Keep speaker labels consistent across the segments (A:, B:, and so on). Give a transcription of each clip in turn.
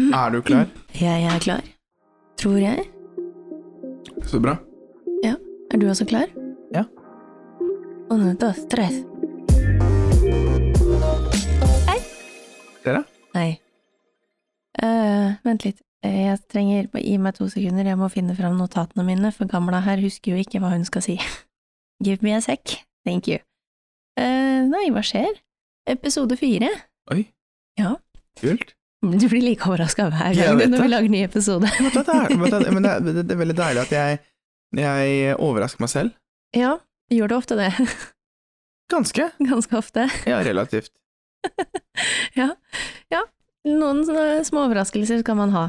A: Er du klar?
B: Jeg er klar. Tror jeg.
A: Så bra.
B: Er du også klar?
C: Ja.
B: Og nå da, stress.
C: Dere?
B: Hei. Eh, vent litt. Eh, Jeg trenger bare Gi meg to sekunder, jeg må finne fram notatene mine, for gamla her husker jo ikke hva hun skal si. Give me a sec. Thank you. Eh, nei, hva skjer? Episode fire.
C: Oi.
B: Ja.
C: Kult.
B: Du blir like overraska hver
C: Jeg
B: gang
C: vet
B: når vi
C: det.
B: lager ny episode.
C: Men det er, men det er, men det er, det er veldig deilig at jeg, jeg overrasker meg selv.
B: Ja, gjør du ofte det?
C: Ganske.
B: Ganske ofte.
C: Ja, relativt.
B: Noen sånne små overraskelser skal man ha.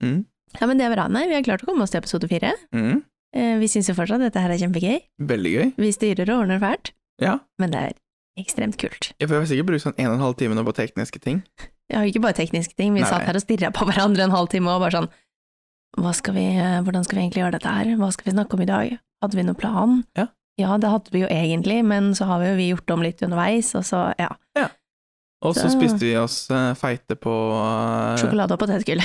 C: Mm.
B: Ja, men det er bra. Nei, vi har klart å komme oss til episode fire.
C: Mm.
B: Eh, Vi syns jo fortsatt dette her er kjempegøy.
C: Veldig gøy.
B: Vi styrer og ordner fælt,
C: Ja.
B: men det er ekstremt kult.
C: Jeg får sikkert bruke sånn en og en halv time nå på tekniske ting.
B: Jeg har jo ikke bare tekniske ting, vi
C: Nei.
B: satt her og stirra på hverandre en halvtime og bare sånn hva skal vi, eh, Hvordan skal vi egentlig gjøre dette her, hva skal vi snakke om i dag, hadde vi noen plan?
C: Ja.
B: Ja, det hadde vi jo egentlig, men så har vi jo vi gjort om litt underveis, og så, ja,
C: Og så
B: Så-
C: spiste vi oss eh, feite på eh,
B: sjokolade og potetgull.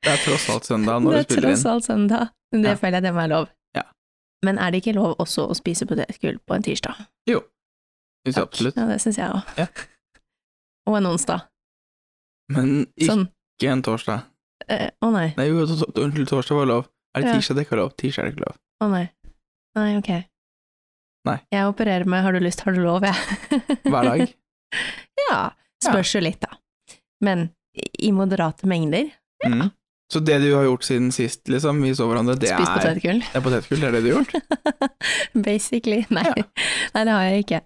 C: Det er tross alt søndag
B: Det
C: når vi
B: er
C: spiller
B: tross
C: inn.
B: alt søndag, men det
C: Ja.
B: føler jeg det må være lov.
C: Ja.
B: Men er det ikke lov også å spise potetgull på en tirsdag?
C: Synes jeg absolutt.
B: Ja, det syns jeg òg.
C: Ja.
B: Og en onsdag.
C: Men ikke
B: Sånn.
C: en torsdag.
B: Eh, Å nei.
C: Nei, jo, to- to- unnskyld, torsdag var lov. Er det
B: Ja.
C: tirsdag det ikke er lov? Tirsdag er det ikke lov.
B: Å nei. Nei, ok.
C: Nei.
B: Jeg opererer med har du lyst, har du lov, jeg.
C: Hver dag.
B: ja. Spørs jo litt, da. Men i moderate mengder.
C: Mm. Så det du har gjort siden sist, liksom, vi så hverandre, det
B: Spis
C: er,
B: potetgull.
C: det er potetgull? Det er det du har gjort?
B: Basically. Nei.
C: Ja.
B: nei, det har jeg ikke.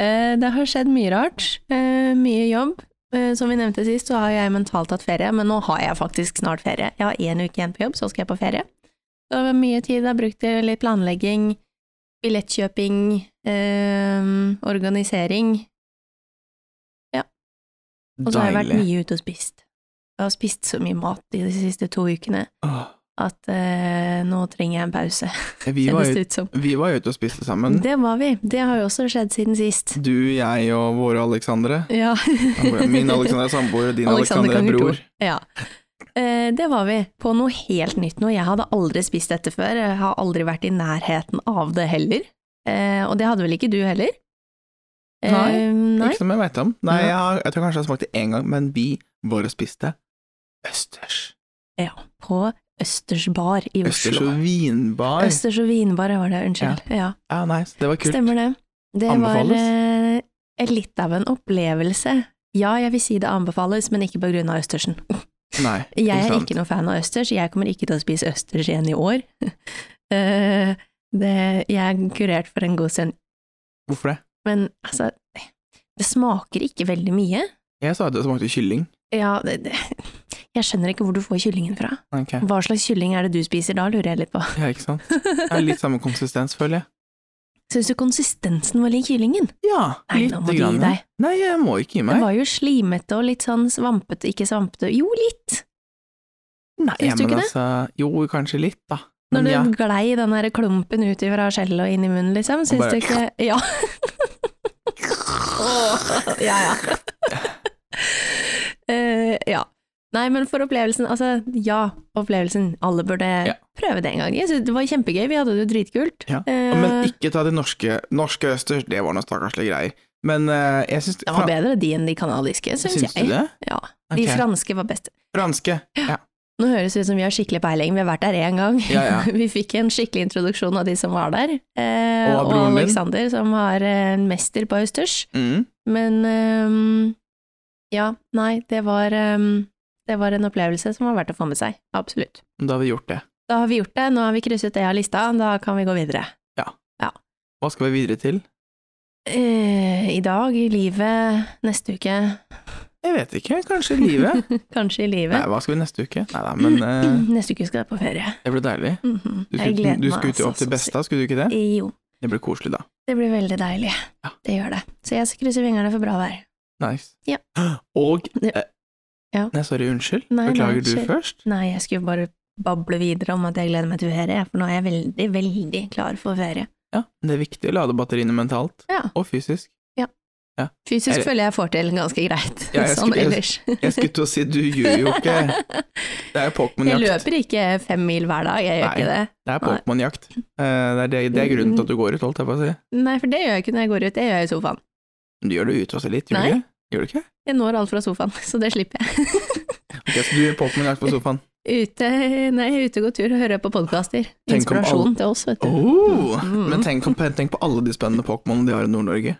B: Eh, Det har skjedd mye rart. eh, Mye jobb. Eh, Som vi nevnte sist, så har jeg mentalt tatt ferie, men nå har jeg faktisk snart ferie. Jeg har én uke igjen på jobb, så skal jeg på ferie. Så det var mye tid jeg har brukt til litt planlegging, billettkjøping, eh, organisering. Og så har jeg vært
C: Deilig.
B: mye ute og spist. Jeg har spist så mye mat i de siste to ukene
C: Åh.
B: at eh, nå trenger jeg en pause,
C: Vi var,
B: kjennes
C: ut,
B: det ut som.
C: vi var ute og spiste sammen.
B: Det var vi. Det har jo også skjedd siden sist.
C: Du, jeg og våre Alexandre.
B: Ja.
C: Min Alexander er samboer, din Alexander,
B: Alexander
C: er
B: Kanger
C: bror.
B: Thor. Ja. Eh, det var vi. På noe helt nytt nå. Jeg hadde aldri spist dette før. Jeg har aldri vært i nærheten av det heller. Eh, og det hadde vel ikke du heller? Eh,
C: Nei.
B: nei.
C: Ikke som jeg veit om. Nei,
B: Ja.
C: jeg, har, jeg tror kanskje jeg har smakt det én gang, men vi var og spiste østers.
B: På Østers bar i
C: Østers
B: Oslo.
C: og vinbar.
B: Østers og vinbar var det, unnskyld. ja.
C: Ja, nice. Det var kult.
B: Stemmer det. Det
C: Anbefales.
B: var eh, et litt av en opplevelse. Ja, jeg vil si det anbefales, men ikke på grunn av østersen.
C: Nei,
B: Jeg er
C: sant.
B: ikke noen fan av østers, jeg kommer ikke til å spise østers igjen i år. Eh, det, jeg er kurert for en god stund,
C: Hvorfor det?
B: men altså, det smaker ikke veldig mye.
C: Jeg sa at det smakte kylling.
B: Ja, det, det. Jeg skjønner ikke hvor du får kyllingen fra.
C: Ok,
B: Hva slags kylling er det du spiser da, lurer jeg litt på.
C: ja, ikke sant? Det er litt samme konsistens, føler jeg.
B: Syns du konsistensen var lik kyllingen?
C: Ja,
B: Nei,
C: lite
B: nå må du gi
C: grann.
B: deg.
C: Nei, jeg må ikke gi
B: Det
C: meg.
B: var jo slimete og litt sånn svampete, ikke svampete, jo litt.
C: Nei,
B: Syns
C: men
B: du ikke det?
C: altså, Jo, kanskje litt, da.
B: Når
C: Men
B: du
C: ja,
B: glei den der klumpen ut fra skjellet og inn i munnen, liksom, syns
C: bare-
B: du ikke Ja. Åh, ja, ja. Eh, ja. Nei, men for opplevelsen, altså ja, opplevelsen. Alle burde
C: Ja.
B: prøve det en gang. Jeg synes det var kjempegøy, vi hadde det jo dritkult.
C: Ja,
B: Eh,
C: Men ikke ta de norske. Norske østers, det var noe stakkarslige greier. Men eh, jeg syns
B: det var bedre de enn de kanadiske, syns jeg.
C: Syns du det?
B: Ja, De
C: Ok.
B: franske var best.
C: Franske. Ja.
B: Nå høres det ut som vi har skikkelig peiling, vi har vært der én gang.
C: Ja, ja.
B: Vi fikk en skikkelig introduksjon av de som var der, eh,
C: Og av
B: og,
C: broren din.
B: Alexander, som har eh, en mester på østers.
C: Mm.
B: Men ehm, ja, nei, det var, ehm, det var en opplevelse som var verdt å få med seg. Absolutt.
C: Da har vi gjort det.
B: Da har vi gjort det, nå har vi krysset det av lista, da kan vi gå videre.
C: Hva skal vi videre til?
B: Eh, I dag, i livet, neste uke,
C: Jeg vet ikke. Kanskje livet?
B: kanskje i
C: Nei,
B: livet.
C: hva skal vi neste uke? Nei da, men eh,
B: neste uke skal jeg på ferie.
C: det blir deilig.
B: Mhm.
C: Du
B: Jeg
C: skulle,
B: gleder
C: du
B: meg
C: skulle
B: altså
C: opp til
B: så
C: Besta, skulle du ikke
B: sykt.
C: det?
B: Jo,
C: Det blir koselig, da.
B: det blir veldig deilig.
C: Ja.
B: Det gjør det. Så jeg krysser vingerne for bra vær.
C: Nice.
B: Ja.
C: Og
B: Det-
C: eh,
B: Ja.
C: Nei, sorry, unnskyld.
B: Nei, nei,
C: Beklager du
B: kjør.
C: først?
B: Nei, jeg skulle bare bable videre om at jeg gleder meg til ferie, for nå er jeg veldig, veldig klar for ferie.
C: Ja. Det er viktig å lade batteriene mentalt.
B: Ja.
C: Og fysisk.
B: Ja.
C: Ja.
B: Fysisk
C: Er det-
B: føler jeg får til ganske greit,
C: Ja, jeg
B: sånn
C: skulle- jeg-
B: ellers.
C: Jeg skulle til å si du gjør jo ikke Det er jo
B: Jeg
C: Pokémon-jakt.
B: løper ikke fem mil hver dag, jeg gjør
C: Nei.
B: ikke det.
C: Det er Pokémon-jakt. Eh, Det, er det, det er grunnen til at du går ut, holdt jeg på å si.
B: Nei, for det gjør jeg ikke når jeg går ut, det gjør jeg i sofaen.
C: Men du gjør det ute også litt, gjør
B: Nei.
C: du ikke? Gjør du ikke?
B: Jeg når alt fra sofaen, så det slipper jeg.
C: Ok, så du gjør Pokémon-jakt på sofaen.
B: Ute, nei, ute går tur og hører på podkaster.
C: Tenk om alle-
B: Inspirasjon til oss, vet du.
C: Oh,
B: Mm.
C: men tenk, om- tenk på alle de spennende Pokémonene de har i Nord-Norge.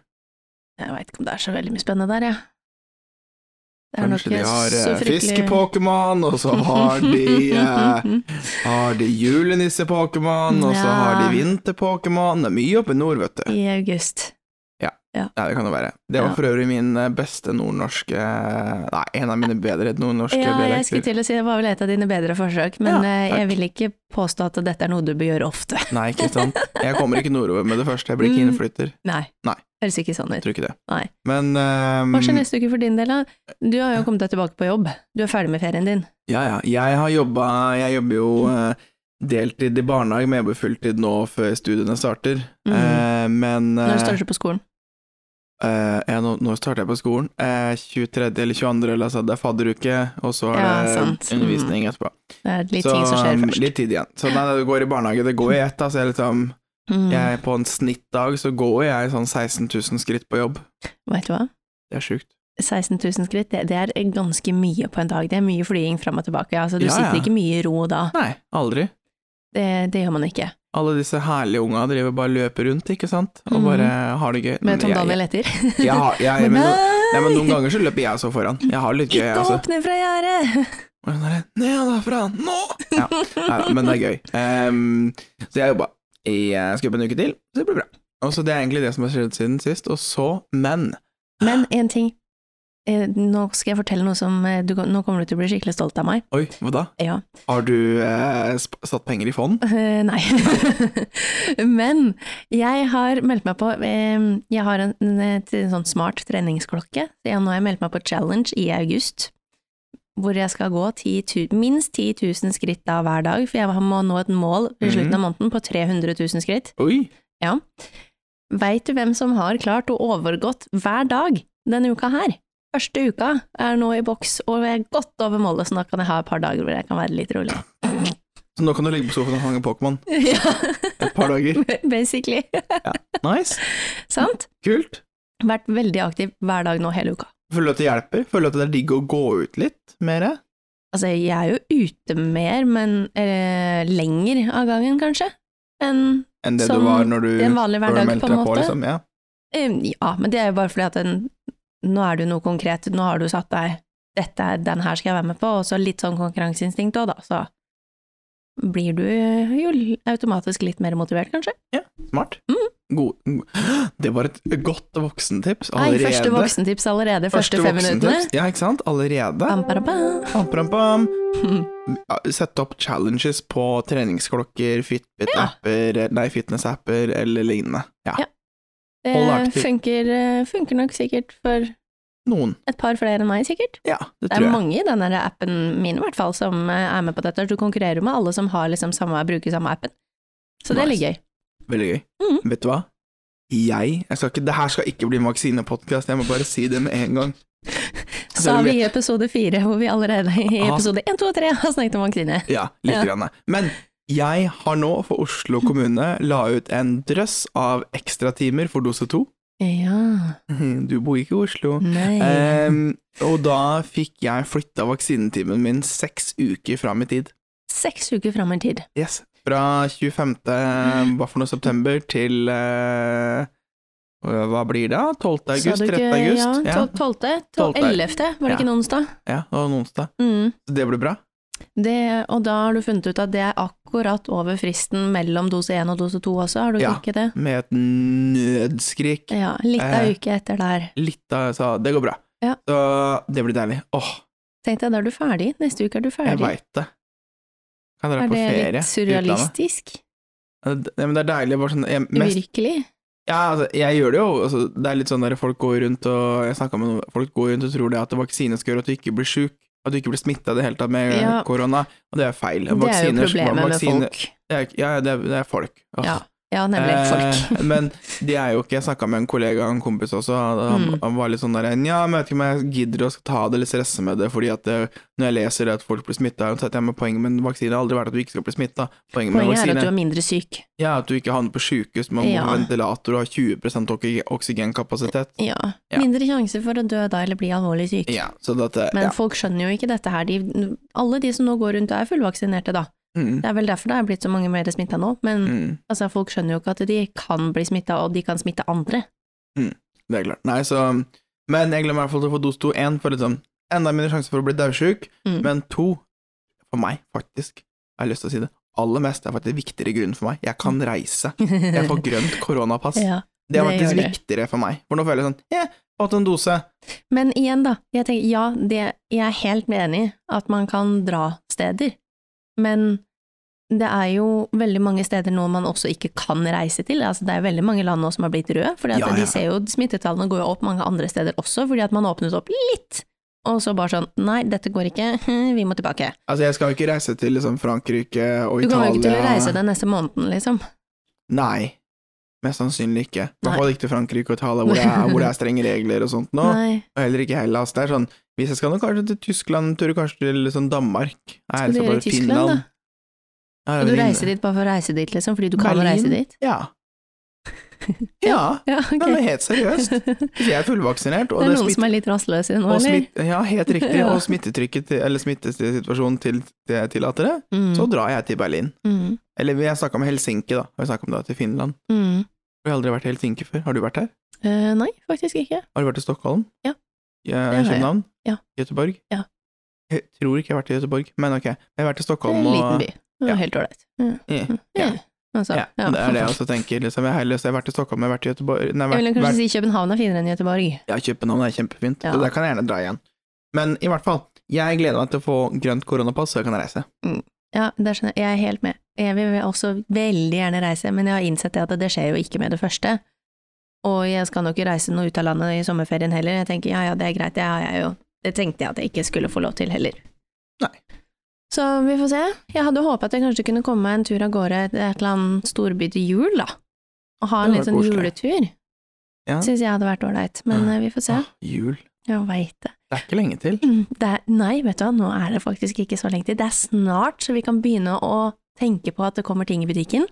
B: Jeg veit ikke om det er så veldig mye spennende der, jeg. Det er nok
C: Kanskje de har
B: så
C: eh,
B: fryktelig-
C: fiske-Pokémon, og så har de, eh, har de julenisse-Pokémon, og så
B: Ja.
C: har de vinter-Pokémon. Det er mye oppe i nord, vet du.
B: I august.
C: Nei, det kan det være. Det var
B: Ja.
C: for øvrig min eh, beste nordnorske eh, Nei, en av mine bedre nordnorske
B: Ja, jeg skulle
C: dialekter.
B: til å si det var vel et av dine bedre forsøk,
C: Ja,
B: men eh, jeg
C: takk.
B: vil ikke påstå at dette er noe du bør gjøre ofte.
C: Nei, ikke sant. Jeg kommer ikke nordover med det første. Jeg blir ikke
B: Mm.
C: innflytter.
B: Nei.
C: Nei. Mm.
B: Høres ikke sånn
C: Jeg
B: ut.
C: tror ikke det.
B: Nei.
C: Men ehm,
B: Hva skjer neste uke for din del, da? Du har jo kommet deg tilbake på jobb. Du er ferdig med ferien din.
C: Ja, ja. Jeg har jobba Jeg jobber jo eh, deltid i barnehage, men jeg jobber fulltid nå før studiene starter.
B: Mm.
C: Eh, men eh,
B: Når starter du på skolen?
C: eh, ja, nå, nå starter jeg på skolen. Eh, 23. eller 22. eller altså, det er fadderuke, og så er
B: Ja,
C: det
B: sant.
C: undervisning etterpå.
B: Det er litt
C: så
B: ting som skjer
C: um,
B: først.
C: litt tid igjen. Så nei, det går i barnehage. Det går i ett. Altså, jeg liksom,
B: Mm.
C: jeg, på en snittdag så går jeg sånn 16 000 skritt på jobb.
B: Vet du hva?
C: Det er sjukt.
B: 16 000 skritt, det, det er ganske mye på en dag. Det er mye flying fram og tilbake. Altså, du
C: Ja,
B: sitter
C: ja.
B: ikke mye i ro da.
C: Nei, aldri.
B: Det, det gjør man ikke.
C: Alle disse herlige unga driver bare løper rundt, ikke sant, og
B: Mhm.
C: bare har det gøy.
B: Med Tom
C: Jeg-
B: Daniel etter.
C: jeg- jeg har- jeg- men, no- nei, men noen
B: Nei!
C: ganger så løper jeg også foran. Jeg har litt gøy, jeg altså-
B: Ikke
C: også.
B: hopp ned fra gjerdet!
C: Og sånn der, Ned derfra, nå! Ja, neida, men det er gøy. Ehm, så jeg jobba i eh, skal jobbe en uke til, så det blir bra. Og så Det er egentlig det som har skjedd siden sist. Og så, men
B: Men en ting. Eh, Nå skal jeg fortelle noe som eh, du, Nå kommer du til å bli skikkelig stolt av meg.
C: Oi, hva da?
B: Ja.
C: Har du eh, sp satt penger i fond?
B: Eh, nei. Men jeg har meldt meg på eh, Jeg har en, en, et sånn smart treningsklokke. Så jeg, nå har jeg meldt meg på challenge i august, hvor jeg skal gå 10 tu- minst 10 000 skritt da hver dag. For jeg må nå et mål
C: Mhm.
B: i slutten av måneden på 300 000 skritt.
C: Oi!
B: Veit du hvem som har klart å overgått hver dag denne uka her? Første uka er nå i boks, og jeg er godt over målet, så nå kan jeg ha et par dager hvor jeg kan være litt rolig.
C: Så nå kan du ligge på sofaen og fange Pokémon
B: ja,
C: et par dager.
B: basically.
C: Nice.
B: Sant?
C: Kult.
B: vært veldig aktiv hver dag nå hele uka.
C: Føler du at det hjelper? Føler du at det er digg å gå ut litt mer?
B: Altså, jeg er jo ute mer, men eh, lenger av gangen, kanskje, enn
C: Enn det
B: Som
C: du var når du
B: i en vanlig
C: når du
B: hverdag,
C: meldte
B: på en
C: deg
B: måte.
C: liksom? Ja.
B: Eh, Ja, men det er jo bare fordi at den, nå er det jo noe konkret, nå har du satt deg dette, er- den her skal jeg være med på, og så litt sånn konkurranseinstinkt òg, da, så blir du jo l- automatisk litt mer motivert, kanskje.
C: Smart.
B: Mm.
C: God, det var et godt voksentips
B: Nei,
C: allerede.
B: første voksentips allerede, første, fem minuttene.
C: voksentips. Ja, ikke sant? Allerede.
B: Bam, bam, bam.
C: Pam, pam, pam.
B: Hmm.
C: Ja, Sette opp challenges på treningsklokker, Fitbit-apper, nei, fitness-apper eller lignende. Ja,
B: Ja.
C: Hold
B: Det
C: aktiv.
B: Eh, funker, eh, funker nok sikkert for
C: noen.
B: et par flere enn meg, sikkert.
C: Ja, det,
B: Det er
C: tror jeg.
B: mange i den der appen min i hvert fall som eh, er med på dette. Du konkurrerer med alle som har liksom samme, bruker samme appen. Så det er litt
C: Nice.
B: gøy.
C: Veldig gøy.
B: Mhm.
C: Vet du hva? Jeg, jeg skal ikke, Det her skal ikke bli en vaksinepodkast, jeg må bare si det med en gang.
B: Så har vi i episode fire, hvor vi allerede i
C: Ah.
B: episode én, to og tre har snakket om vaksine.
C: Ja, litt
B: Ja.
C: grann. Men jeg har nå, for Oslo kommune, la ut en drøss av ekstratimer for dose to.
B: Ja,
C: Du bor ikke i Oslo.
B: nei.
C: Ehm, og da fikk jeg flytta vaksinetimen min seks uker fram i tid.
B: Seks uker fram i tid.
C: Yes. Fra 25.
B: Mm.
C: hva for noe september til eh, Hva blir det? da? 12. august? 13. august?
B: Ja,
C: Ja,
B: tol- tolvte? tol-
C: Tolvte.
B: Ellevte? Var det ikke en onsdag?
C: ja, det var en onsdag.
B: Mm.
C: Så Det ble bra.
B: Det, og da har du funnet ut at det er akkurat over fristen mellom dose én og dose to også, har du
C: Ja.
B: ikke det?
C: Med et nødskrik.
B: Ja, litt av
C: Eh.
B: uke etter der.
C: Litt av sa Det går bra.
B: Ja.
C: Så det blir deilig. Åh,
B: Tenk deg, da er du ferdig. Neste uke er du
C: jeg
B: ferdig.
C: veit det. Kan dra
B: Er
C: på
B: det
C: ferie.
B: litt
C: til utlandet.
B: surrealistisk?
C: Ja, men det er deilig. Bare sånn, jeg, mest
B: Virkelig?
C: Ja, altså, jeg gjør det jo. Altså, det er litt sånn der folk går rundt og Jeg snakket med noen folk går rundt og tror det at vaksine skal gjøre at du ikke blir sjuk. At du ikke blir smitta i det hele tatt med eh,
B: Ja.
C: korona. Og det er feil.
B: Det er jo
C: Vaksiner-
B: problemet med
C: vaksine-
B: folk.
C: Det er, ja, det er, det er folk. Altså,
B: Ja. Ja, nemlig. Folk.
C: Eh, men de er jo ikke Jeg snakka med en kollega og en kompis også, og han,
B: Mm.
C: han var litt sånn der Nja, men jeg vet ikke om jeg gidder å ta det eller stresse med det, fordi at det, når jeg leser at folk blir smitta, så setter jeg med poenget med en vaksine har aldri vært at du ikke skal bli smitta. Poenget med
B: Poenget er at
C: vaksine
B: du er mindre syk.
C: ja, at du ikke havner på sjukehus, man må
B: Ja.
C: på ventilator og har 20 ok- oksygenkapasitet.
B: Ja.
C: Ja.
B: Mindre sjanse for å dø da eller bli alvorlig syk.
C: Ja, så dette
B: Men
C: ja.
B: folk skjønner jo ikke dette her. De, alle de som nå går rundt og er fullvaksinerte, da.
C: Mm,
B: Det er vel derfor det er blitt så mange mer smitta nå. Men
C: mm,
B: altså, folk skjønner jo ikke at de kan bli smitta, og de kan smitte andre.
C: det er klart. Nei, så Men jeg glemmer i hvert fall til å få dose to én, for liksom enda mindre sjanse for å bli daudsjuk.
B: Mm.
C: Men to, for meg faktisk, har jeg lyst til å si det, aller mest er faktisk viktigere grunn for meg. Jeg kan reise. Jeg får grønt koronapass.
B: ja.
C: Det er
B: det gjør
C: faktisk
B: det.
C: viktigere for meg. For nå føler jeg sånn Ja, fått en dose.
B: Men igjen, da. Jeg tenker, ja, det, jeg er helt enig i at man kan dra steder, men det er jo veldig mange steder nå man også ikke kan reise til. Altså, det er veldig mange land nå som har blitt røde, for
C: Ja, ja, ja.
B: de ser jo smittetallene går jo opp mange andre steder også, fordi at man åpnet opp litt, og så bare sånn nei, dette går ikke, vi må tilbake.
C: Altså, jeg skal jo ikke reise til liksom Frankrike og
B: Du
C: Italia.
B: kommer jo ikke til å reise den neste måneden, liksom.
C: Nei. Mest sannsynlig ikke. I
B: Nei.
C: hvert fall ikke til Frankrike og Italia, hvor det er, hvor det er strenge regler og sånt nå.
B: Nei.
C: Og heller ikke Hellas. Det er sånn Hvis jeg skal nå kanskje til Tyskland, turer kanskje til sånn Danmark. Nei,
B: Skal du
C: så
B: gjøre
C: bare
B: i Tyskland, da?
C: Ja,
B: Og du
C: Finland.
B: reiser dit bare for å reise dit, liksom, fordi du kan
C: Berlin?
B: reise dit?
C: Ja. Ja.
B: Ja, ok.
C: Nei, men helt seriøst.
B: det
C: Jeg er fullvaksinert, og
B: er
C: det er
B: noen
C: smitt...
B: som er litt rastløse nå,
C: Og
B: eller?
C: smitt ja, helt riktig.
B: Ja.
C: Og smittetrykket, til, eller smittesituasjonen til, det tillater det,
B: Mm.
C: så drar jeg til Berlin.
B: mm.
C: Eller jeg snakka om Helsinki, da. Og jeg snakka om det til Finland.
B: Mm.
C: Jeg har aldri vært i Helsinki før. Har du vært her?
B: Eh, nei, faktisk ikke.
C: Har du vært i Stockholm?
B: Ja.
C: Ja,
B: har jeg.
C: København?
B: Ja.
C: Göteborg?
B: Ja.
C: Jeg tror ikke jeg har vært i Göteborg, men ok. Jeg har vært i
B: Det er
C: Stockholm
B: en
C: og
B: liten by. Det
C: ja.
B: var Helt ålreit. Ja.
C: Ja.
B: mm. Ja. Altså,
C: Ja,
B: ja.
C: Det er det jeg også tenker. Liksom. Jeg, har lyst- jeg har vært i Stockholm, jeg har vært i Göteborg Nei,
B: Jeg vil
C: vært,
B: kanskje
C: vært,
B: si København er finere enn Göteborg.
C: ja, København er kjempefint,
B: Ja.
C: så der kan jeg gjerne dra igjen. Men i hvert fall, jeg gleder meg til å få grønt koronapass, så jeg kan reise.
B: Ja, der skjønner jeg. Jeg er helt med. Jeg vil også veldig gjerne reise, men jeg har innsett det at det skjer jo ikke med det første. Og jeg skal nok ikke reise noe ut av landet i sommerferien heller. Jeg tenker ja ja, det er greit, det har jeg jo. Det tenkte jeg at jeg ikke skulle få lov til heller.
C: Nei.
B: Så vi får se. Jeg hadde håpet at jeg kanskje kunne komme meg en tur av gårde til et eller annet storby til jul, da. Og ha en
C: Det
B: litt
C: hadde
B: sånn
C: vært
B: juletur.
C: Ja.
B: Syns jeg hadde vært ålreit, men
C: Ja.
B: eh, vi får se.
C: Åh, jul.
B: Jeg veit det.
C: Det er ikke lenge til.
B: Mm, det er, nei, vet du hva, nå er det faktisk ikke så lenge til. Det er snart, så vi kan begynne å tenke på at det kommer ting i butikken.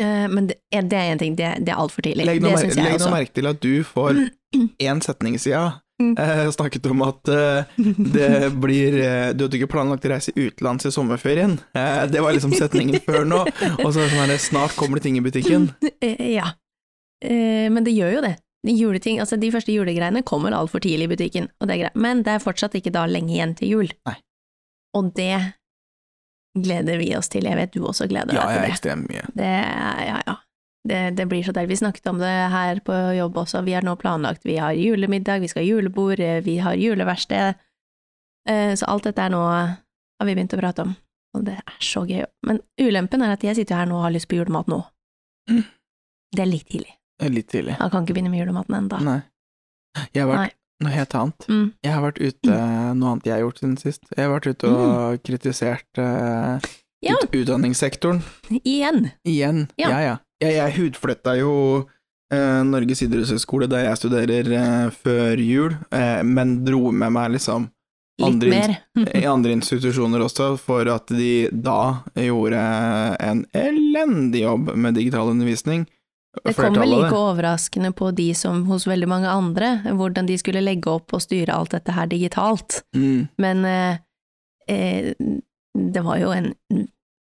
B: Eh, men det, er- det er én ting, det, det er altfor tidlig.
C: Legg nå
B: det
C: mer-
B: syns jeg
C: legg nå
B: også.
C: merke til at du for én setning siden
B: Mm.
C: eh, snakket om at eh, det blir eh, Du hadde ikke planlagt å reise utenlands i sommerferien. Eh, det var liksom setningen før nå. Og så er det sånn her, snart kommer det ting i butikken.
B: Eh, ja. Eh, men det gjør jo det. De Juleting, altså de første julegreiene kommer altfor tidlig i butikken, og det er greit. Men det er fortsatt ikke da lenge igjen til jul.
C: Nei.
B: Og det gleder vi oss til. Jeg vet du også gleder deg
C: Ja,
B: til
C: jeg
B: det.
C: er ekstremt mye.
B: Det, ja, ja. Det, det blir så deilig. Vi snakket om det her på jobb også. Vi har nå planlagt, vi har julemiddag, vi skal ha julebord, eh, vi har juleverksted. Eh, Så alt dette er nå har vi begynt å prate om, og det er så gøy. Men ulempen er at jeg sitter her nå og har lyst på julemat nå.
C: Mm.
B: Det er litt tidlig.
C: Eh, Litt tidlig.
B: Jeg kan ikke begynne med julematen ennå.
C: Nei. Jeg har vært noe helt annet.
B: Mm.
C: Jeg har vært ute Noe annet jeg har gjort siden sist. Jeg har vært ute og kritisert eh,
B: Mm. Ja.
C: ut, utdanningssektoren
B: Igjen!
C: igjen.
B: Ja.
C: Ja, ja. Jeg, jeg hudfletta jo eh, Norges idrettshøgskole, der jeg studerer, eh, før jul, eh, men dro med meg liksom
B: Litt
C: Andre
B: mer.
C: i andre institusjoner også, for at de da gjorde en elendig jobb med digital undervisning.
B: Det kommer
C: Flertallet av det.
B: like overraskende på de som hos veldig mange andre, hvordan de skulle legge opp og styre alt dette her digitalt.
C: Mm.
B: Men eh, eh, det var jo en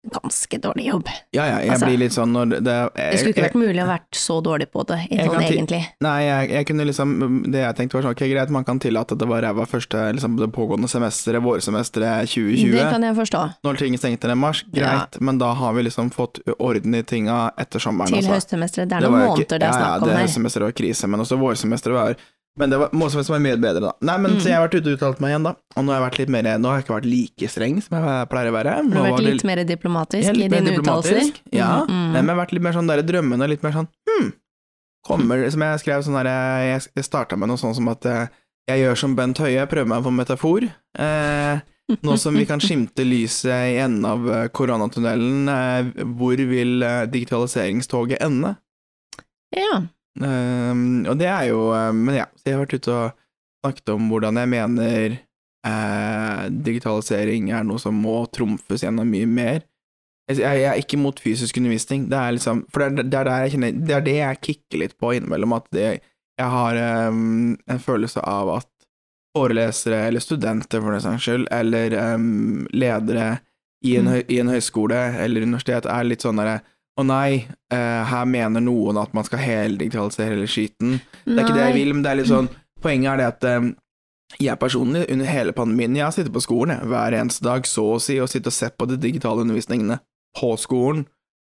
B: ganske dårlig jobb.
C: Ja, ja, jeg
B: Altså,
C: blir litt sånn når det
B: Det skulle
C: jeg,
B: ikke
C: jeg,
B: vært mulig å vært så dårlig på det,
C: Jeg
B: sånn
C: kan ti-
B: egentlig.
C: Nei, jeg, jeg kunne liksom Det jeg tenkte var sånn, ok, greit, man kan tillate at det var ræva første liksom, det pågående semesteret, vårsemesteret
B: Det
C: 2020,
B: kan jeg forstå.
C: når ting stengte ned i mars, greit, men da har vi liksom fått orden i tinga etter sommeren.
B: Til
C: altså.
B: høstsemesteret. Det er noen
C: var jo ikke-
B: måneder det er snakk om
C: Ja, ja, det
B: her.
C: høstsemesteret var krise, men også vårsemesteret var Men det var vårsemesteret var mye bedre, da. Nei, men
B: Mm.
C: så jeg har vært ute og uttalt meg igjen, da. Og nå har jeg vært litt mer Nå har jeg ikke vært like streng som jeg pleier å være.
B: Du
C: Nå
B: har
C: var
B: vært
C: det-
B: litt mer diplomatisk
C: jeg er
B: i
C: litt mer
B: dine uttalelser.
C: diplomatisk. Ja,
B: Mm, mm.
C: Nei, men jeg har vært litt mer sånn der drømmende, litt mer sånn hm, kommer Som jeg skrev sånn der Jeg starta med noe sånn som at eh, jeg gjør som Bent Høie, prøver meg på metafor. Eh, Nå som vi kan skimte lyset i enden av eh, koronatunnelen, eh, hvor vil eh, digitaliseringstoget ende?
B: Ja.
C: Ehm, og det er jo eh, Men ja, så jeg har vært ute og snakket om hvordan jeg mener eh, digitalisering er noe som må trumfes gjennom mye mer. Jeg, jeg er ikke mot fysisk undervisning, det er liksom For det er, det er, der jeg kjenner, det, er det jeg kicker litt på innimellom, at det, jeg har ehm, en følelse av at forelesere, eller studenter for den saks skyld, eller ehm, ledere i en,
B: Mm.
C: høy, i en høyskole eller universitet er litt sånn derre å nei, eh, her mener noen at man skal heldigitalisere hele skiten. Det er ikke det jeg vil, men det er litt sånn Poenget er det at eh, jeg personlig, under hele pandemien, jeg har sittet på skolen jeg, hver eneste dag, så å si, og sittet og sett på de digitale undervisningene på skolen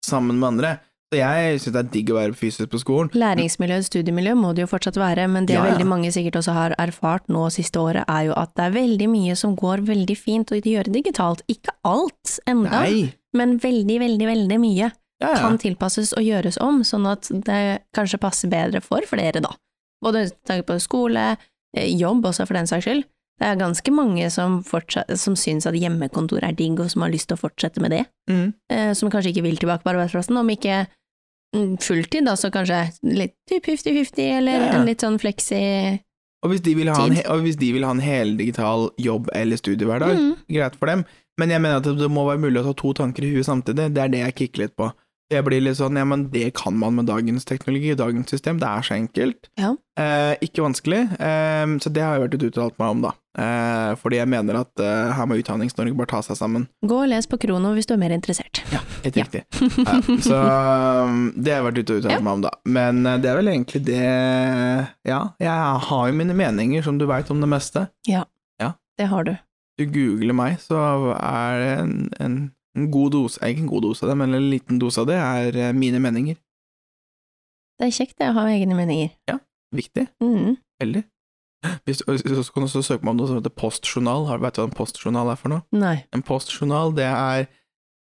C: sammen med andre. Så jeg syns det er digg å være fysisk på skolen.
B: Læringsmiljø og studiemiljø må det jo fortsatt være, men det
C: Ja, ja.
B: veldig mange sikkert også har erfart nå siste året, er jo at det er veldig mye som går veldig fint å gjøre digitalt. Ikke alt enda,
C: Nei!
B: men veldig, veldig, veldig mye
C: Ja, ja.
B: kan tilpasses og gjøres om, sånn at det kanskje passer bedre for flere, da. Både med tanke på skole, eh, jobb også, for den saks skyld. Det er ganske mange som, fortsatt, som syns at hjemmekontor er digg, og som har lyst til å fortsette med det
C: Mm.
B: eh, som kanskje ikke vil tilbake på arbeidsplassen, om ikke mm, fulltid, da, så kanskje litt typ 50-50, eller
C: Ja, ja.
B: en litt sånn fleksi
C: Og hvis de vil ha en,
B: Tid.
C: og hvis de vil ha en heldigital jobb eller studiehverdag,
B: mm.
C: greit for dem, men jeg mener at det må være mulig å ta to tanker i huet samtidig, det er det jeg kikker litt på. Jeg blir litt sånn, ja, men det kan man med dagens teknologi og dagens system, det er så enkelt.
B: Ja.
C: Eh, ikke vanskelig, eh, så det har jeg vært ute og uttalt meg om, da. Eh, fordi jeg mener at eh, her må Utdanningsnorge bare ta seg sammen.
B: Gå og les på Krono hvis du er mer interessert.
C: Helt
B: Ja.
C: riktig. Ja, så um, det har jeg vært ute og uttalt
B: Ja.
C: meg om, da. Men eh, det er vel egentlig det Ja, jeg har jo mine meninger, som du veit, om det meste.
B: Det har du.
C: du googler meg, så er det en, en, en god dose eh, Ikke en god dose av det, men en liten dose av det er eh, mine meninger.
B: Det er kjekt det å ha egne meninger.
C: Viktig.
B: Mm.
C: Veldig. Hvis, og så så kan du også søke meg om noe som heter postjournal. Har- Vet du hva en postjournal er for noe?
B: Nei.
C: En postjournal, det er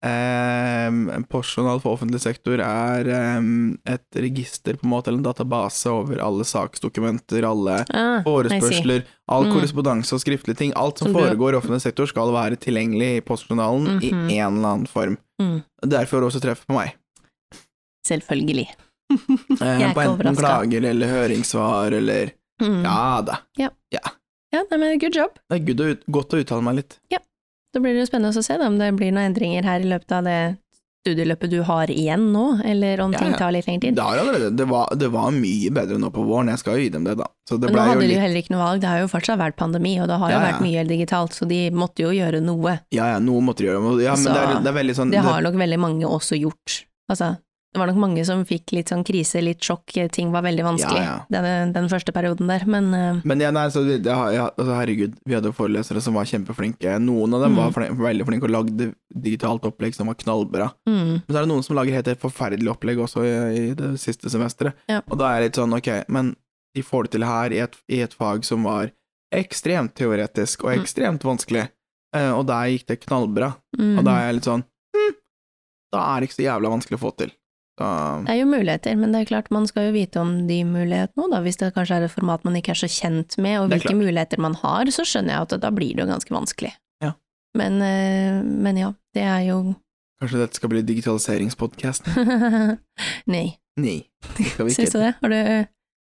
C: eh, En postjournal for offentlig sektor er eh, et register, på en måte, eller en database over alle saksdokumenter, alle
B: Ah, I see.
C: forespørsler, all
B: Mm.
C: korrespondanse og skriftlige ting. Alt som
B: Som du-
C: foregår i offentlig sektor skal være tilgjengelig i postjournalen
B: Mhm.
C: i en eller annen form.
B: Mm.
C: Derfor også treff på meg.
B: Selvfølgelig.
C: Eh,
B: Jeg er
C: på
B: ikke
C: enten
B: overrasket.
C: klager eller høringssvar eller
B: Mm.
C: Ja da.
B: Ja, nei, men good job.
C: Det er good å ut, godt å uttale meg litt.
B: Da blir det jo spennende å se da, om det blir noen endringer her i løpet av det studieløpet du har igjen nå, eller om
C: Ja,
B: ting
C: ja.
B: tar litt lengre tid.
C: Det, har allerede, det, var, det var mye bedre nå på våren, jeg skal jo gi dem det, da. Så det
B: Men nå
C: ble jo
B: hadde de jo
C: litt
B: heller ikke noe valg, det har jo fortsatt vært pandemi, og det har jo
C: Ja, ja.
B: vært mye digitalt, så de måtte jo gjøre noe.
C: Ja ja, noe måtte de gjøre. men- Ja, men
B: Så
C: det, er, det er veldig sånn
B: Altså, Det har nok veldig mange også gjort. Altså, det var nok mange som fikk litt sånn krise, litt sjokk, ting var veldig vanskelig
C: Ja, ja.
B: Den, den første perioden der, men eh,
C: Men ja, nei, så det, det, har- ja, altså, herregud, vi hadde forelesere som var kjempeflinke. Noen av dem
B: Mm.
C: var flin- veldig flinke og lagde digitalt opplegg som var knallbra.
B: mm,
C: Men så er det noen som lager helt forferdelig opplegg også i, i det siste semesteret.
B: Ja.
C: Og da er jeg litt sånn, ok, men de får det til her i et, i et fag som var ekstremt teoretisk og
B: Mm.
C: ekstremt vanskelig, eh, og der gikk det knallbra.
B: mm.
C: Og da er jeg litt sånn, hm, da er det ikke så jævla vanskelig å få til. Så,
B: Det er jo muligheter, men det er klart man skal jo vite om de mulighetene òg, da. Hvis det kanskje er et format man ikke er så kjent med, og
C: Det er
B: hvilke
C: klart.
B: muligheter man har, så skjønner jeg at da blir det jo ganske vanskelig.
C: Ja.
B: Men, eh, men ja, det er jo
C: kanskje dette skal bli digitaliseringspodcast?
B: Nei.
C: Nei, det skal vi
B: Syns du
C: ikke.
B: det? Har du,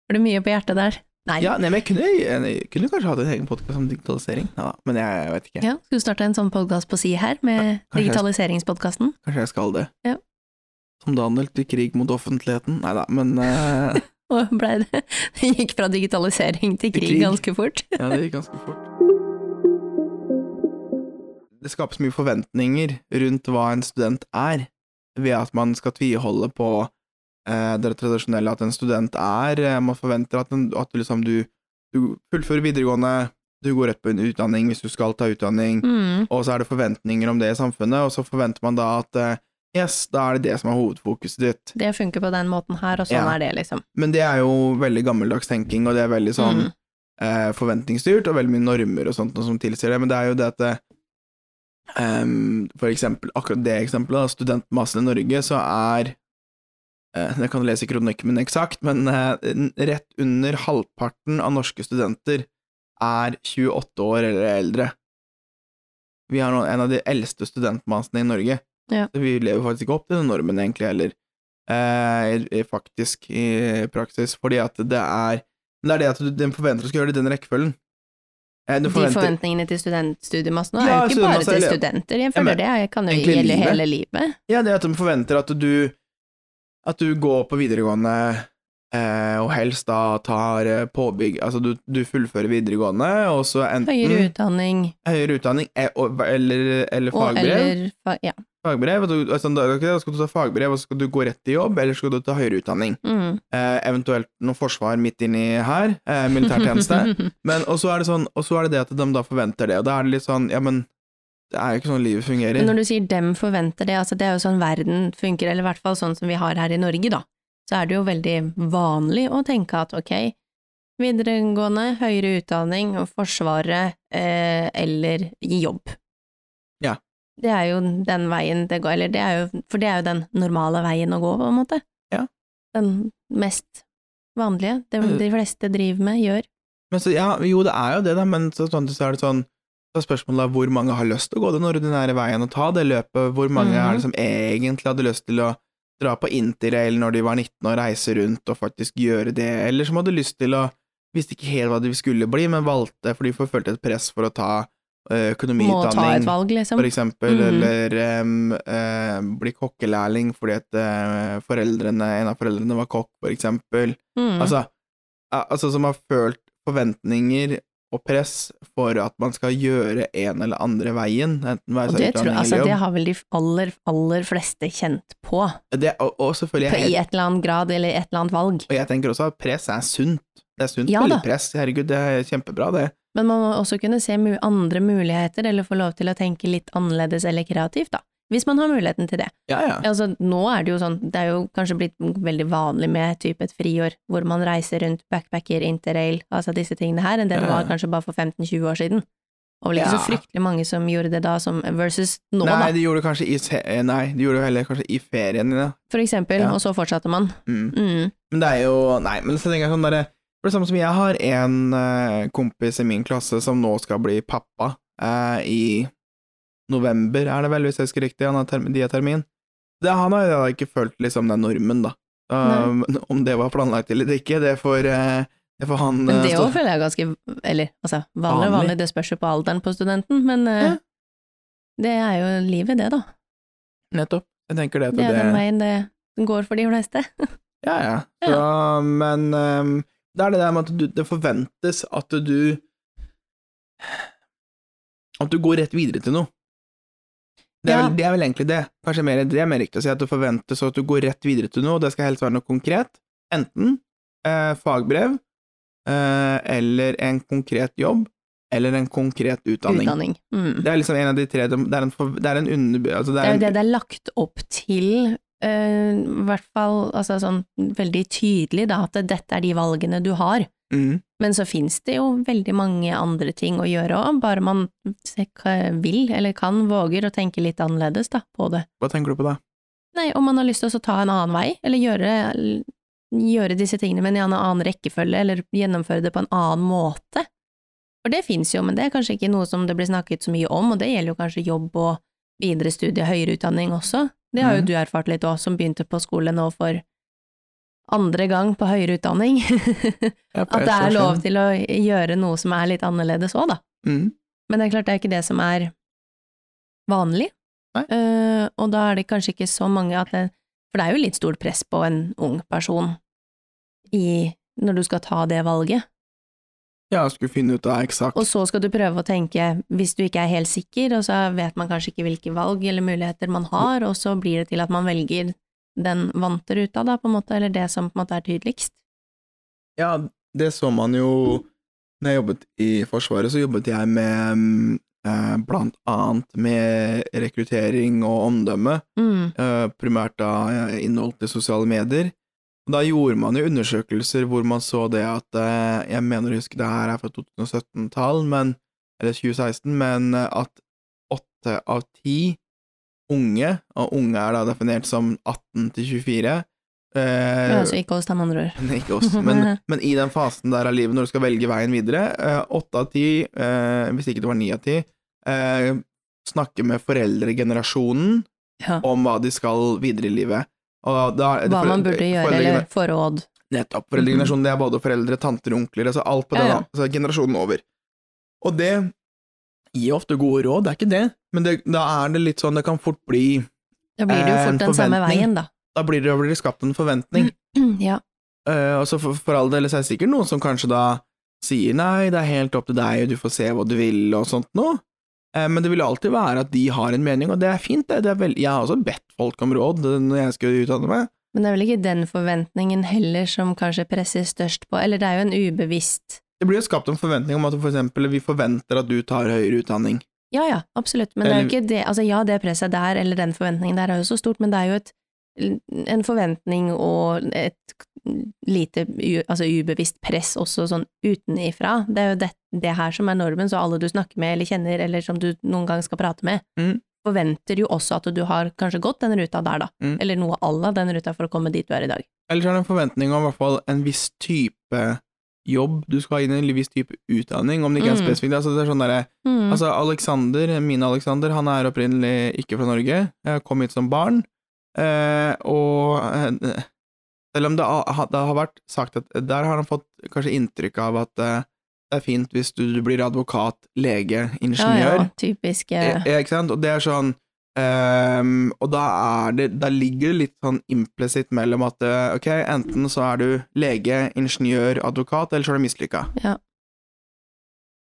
B: har du mye på hjertet der? Nei.
C: Ja, nei, men jeg kunne, jeg kunne kanskje hatt en egen podcast om digitalisering, Neida, men jeg, vet ikke.
B: Ja, Skal du starte en sånn podkast på si her, med
C: kanskje jeg-
B: digitaliseringspodkasten?
C: Kanskje jeg skal det.
B: Ja.
C: Som Daniel til krig mot offentligheten. Neida, men... eh,
B: Og blei det Det gikk fra digitalisering til
C: Til
B: krig,
C: krig.
B: ganske fort.
C: Ja, det gikk ganske fort. Det skapes mye forventninger rundt hva en student er, ved at man skal tviholde på eh, det tradisjonelle at en student er. Eh, Man forventer at, en, at du, liksom, du, du fullfører videregående, du går rett på en utdanning hvis du skal ta utdanning,
B: Mm.
C: og så er det forventninger om det i samfunnet, og så forventer man da at eh, yes, da er det det som er hovedfokuset ditt.
B: Det funker på den måten her, og sånn
C: Ja.
B: er det, liksom.
C: Men det er jo veldig gammeldags tenking, og det er veldig sånn
B: Mm.
C: eh, forventningsstyrt, og veldig mye normer og sånt noe som tilsier det, men det er jo det at ehm, for eksempel, akkurat det eksempelet, da, studentmassen i Norge, så er eh, Jeg kan lese kronikken min eksakt, men eh, n- rett under halvparten av norske studenter er 28 år eller eldre. Vi har nå en av de eldste studentmasene i Norge.
B: Ja.
C: Så vi lever faktisk ikke opp til den normen, egentlig, heller. Eh, i- i- faktisk, i praksis. Fordi at det er Det er det at du den forventer å skulle gjøre det i den rekkefølgen. Eh, du
B: De forventningene til studentstudiemassen nå
C: Ja,
B: er jo ikke bare
C: studentmassen,
B: til
C: eller-
B: studenter, jeg
C: Ja, men
B: føler det jeg kan jo
C: egentlig
B: gjelde
C: livet.
B: hele livet.
C: Ja, det at de forventer at du At du går på videregående eh, og helst da tar eh, påbygg Altså du, du fullfører videregående, og så enten
B: Høyere utdanning
C: høyere utdanning eh, og, eller, eller
B: og
C: fagbrev.
B: eller fa ja.
C: fagbrev, og du, altså, da da skal du ta fagbrev, og så skal du gå rett i jobb, eller skal du ta høyere utdanning.
B: Mm.
C: Eh, eventuelt noe forsvar midt inni her, eh, militærtjeneste. men, og så er det sånn, og så er det det at de da forventer det, og da er det litt sånn, ja, men det er jo ikke sånn livet fungerer.
B: Men når du sier dem forventer det, altså det er jo sånn verden funker, eller i hvert fall sånn som vi har her i Norge, da. Så er det jo veldig vanlig å tenke at ok, videregående, høyere utdanning og Forsvaret eh, eller i jobb.
C: Ja.
B: Det er jo den veien det går, eller det er jo, for det er jo den normale veien å gå, på en måte.
C: Ja. Mm.
B: Den mest vanlige, det de fleste driver med, gjør.
C: Men så, ja, jo, det er jo det, da, men så, samtidig så er det sånn så er spørsmålet da, hvor mange har lyst til å gå den ordinære veien og ta det løpet, hvor mange
B: Mhm.
C: er det som egentlig hadde lyst til å dra på interrail når de var 19 og reise rundt og faktisk gjøre det, eller som hadde lyst til å Visste ikke helt hva de skulle bli, men valgte fordi de følte et press for å ta eh,
B: Må ta et
C: økonomiutdanning,
B: valg, liksom.
C: for eksempel,
B: Mhm.
C: eller em, eh, bli kokkelærling fordi at eh, foreldrene, en av foreldrene var kokk, for eksempel.
B: Mm.
C: Altså, ja, altså som har følt forventninger og press for at man skal gjøre en eller andre veien, enten være
B: Og
C: seg
B: det, tror,
C: utdanning
B: altså,
C: eller
B: det
C: jobb.
B: har vel de aller, aller fleste kjent på,
C: Det, og, og selvfølgelig,
B: på
C: jeg,
B: i
C: helt-
B: et eller annet grad eller et eller annet valg.
C: og jeg tenker også at press er sunt. Det er sunt ja,
B: Ja da.
C: med litt press, herregud, det er kjempebra det.
B: Men man må også kunne se mu andre muligheter, eller få lov til å tenke litt annerledes eller kreativt, da. Hvis man har muligheten til det.
C: Ja, ja.
B: Altså, nå er det jo sånn, det er jo kanskje blitt veldig vanlig med type et friår, hvor man reiser rundt backpacker, interrail, altså disse tingene her, enn det det
C: Ja.
B: var kanskje bare for 15-20 år siden. Og vel ikke så
C: Ja.
B: fryktelig mange som gjorde det da, som versus nå,
C: nei,
B: da,
C: de gjorde det kanskje i, se- eh, nei, de gjorde det jo heller kanskje i ferien, ja.
B: for eksempel,
C: Ja.
B: og så fortsatte man.
C: Mm.
B: Mm.
C: Men det er jo Nei, men så tenker jeg sånn derre For det samme som jeg har en eh, kompis i min klasse som nå skal bli pappa eh, i november, er det vel, hvis jeg husker riktig, han har term de har termin. Det, han har jo da ikke følt liksom den normen, da. Um, om det var planlagt eller ikke, det får, eh, det får han
B: Men
C: eh,
B: det
C: stå-
B: òg føler jeg er ganske Eller altså, vanlig og
C: Vanlig.
B: vanlig, det spørs jo på alderen på studenten, men eh,
C: Ja.
B: det er jo livet, det, da.
C: Nettopp. Jeg tenker det
B: Det
C: til
B: er
C: det.
B: den veien det går for de fleste.
C: Ja, ja. Så, Men ehm, det er det der med at du, det forventes at du At du går rett videre til noe. Det er,
B: Ja.
C: vel, det er vel egentlig det. Kanskje mer, det er mer riktig å si at det forventes at du går rett videre til noe, og det skal helst være noe konkret. Enten eh, fagbrev, eh, eller en konkret jobb, eller en konkret utdanning.
B: Utdanning. Mm.
C: Det er liksom en av de tre Det er en, for, det er en under... Altså det
B: Det er
C: er
B: jo det
C: en,
B: det er lagt opp til, eh, i hvert fall altså, sånn veldig tydelig, da, at dette er de valgene du har.
C: mm,
B: Men så fins det jo veldig mange andre ting å gjøre òg, bare man se- vil eller kan, våger å tenke litt annerledes da, på det.
C: hva tenker du på da?
B: Nei, om man har lyst til å ta en annen vei, eller gjøre, gjøre disse tingene, men i en annen rekkefølge, eller gjennomføre det på en annen måte. For det finnes jo, men det er kanskje ikke noe som det blir snakket så mye om, og det gjelder jo kanskje jobb og videre studie, høyere utdanning også. Det har jo
C: Mhm.
B: du erfart litt òg, som begynte på skole nå for andre gang på høyere utdanning.
C: Ja, for
B: At
C: jeg
B: det er
C: står
B: lov
C: sånn.
B: til å gjøre noe som er litt annerledes òg, da.
C: Mm.
B: Men det er klart det er ikke det som er vanlig.
C: Nei.
B: Eh, og da er det kanskje ikke så mange at det For det er jo litt stort press på en ung person i når du skal ta det valget.
C: Ja, jeg skulle finne ut av eksakt.
B: Og så skal du prøve å tenke, hvis du ikke er helt sikker, og så vet man kanskje ikke hvilke valg eller muligheter man har, og så blir det til at man velger den vante ruta, da, på en måte, eller det som på en måte er tydeligst.
C: Ja, det så man jo Når jeg jobbet i Forsvaret, så jobbet jeg med mm, eh, blant annet med rekruttering og omdømme,
B: Mm.
C: eh, primært da eh, innhold til sosiale medier. Og Da gjorde man jo undersøkelser hvor man så det at eh, Jeg mener å huske det her er fra 2017-tall, men Eller 2016, men eh, at åtte av ti unge, og unge er da definert som 18 til 24 eh,
B: altså ikke oss, da, med andre ord.
C: men Ikke oss, men, men i den fasen der av livet når du skal velge veien videre, eh, åtte av ti, eh, hvis ikke det var ni av ti, eh, snakke med foreldregenerasjonen
B: Ja.
C: om hva de skal videre i livet. Og da,
B: Hva man burde
C: foreldre-
B: gjøre, eller få råd.
C: Nettopp. Foreldregenerasjonen, det er både foreldre, tanter, onkler, altså alt på
B: Ja,
C: den
B: ja.
C: altså generasjonen over. Og det gir ofte gode råd, det er ikke det, men det, da er det litt sånn det kan fort bli
B: Da blir det jo
C: Eh, en
B: fort den samme
C: forventning.
B: veien, da.
C: Da blir det, da blir det skapt en forventning.
B: Ja.
C: Eh, og så for, for all del så er det sikkert noen som kanskje da sier nei, det er helt opp til deg, og du får se hva du vil, og sånt noe. Eh, men det vil alltid være at de har en mening, og det er fint, det. det er vel, jeg har også bedt folk om råd eh, når jeg skulle utdanne meg.
B: Men det er vel ikke den forventningen heller som kanskje presser størst på, eller det er jo en ubevisst
C: Det blir jo skapt en forventning om at for eksempel vi forventer at du tar høyere utdanning.
B: Ja ja, absolutt, men det er jo
C: Eller-
B: ikke det Altså ja, det presset der, eller den forventningen der, er jo så stort, men det er jo et en forventning og et lite u- altså ubevisst press også sånn utenifra. Det er jo det, det her som er normen, så alle du snakker med eller kjenner, eller som du noen gang skal prate med,
C: Mm.
B: forventer jo også at du har kanskje gått den ruta der, da,
C: Mm.
B: eller noe à la den ruta for å komme dit du er i dag.
C: Eller så er det en forventning om i hvert fall en viss type jobb du skal ha inn i, eller en viss type utdanning, om det ikke er
B: Mm.
C: spesifikt. Altså, det er sånn derre-
B: Mm.
C: altså Alexander, min Alexander, han er opprinnelig ikke fra Norge, Jeg kom hit som barn, eh, og eh, selv om det, a- ha- det har vært sagt at der har han fått kanskje inntrykk av at eh, det er fint hvis du, du blir advokat, lege, ingeniør. e-
B: Ja, ja, typisk eh,
C: Ja, ikke sant? Og det er sånn ehm, Og da er det Da ligger det litt sånn implisitt mellom at eh, ok, enten så er du lege, ingeniør, advokat, eller så er du mislykka.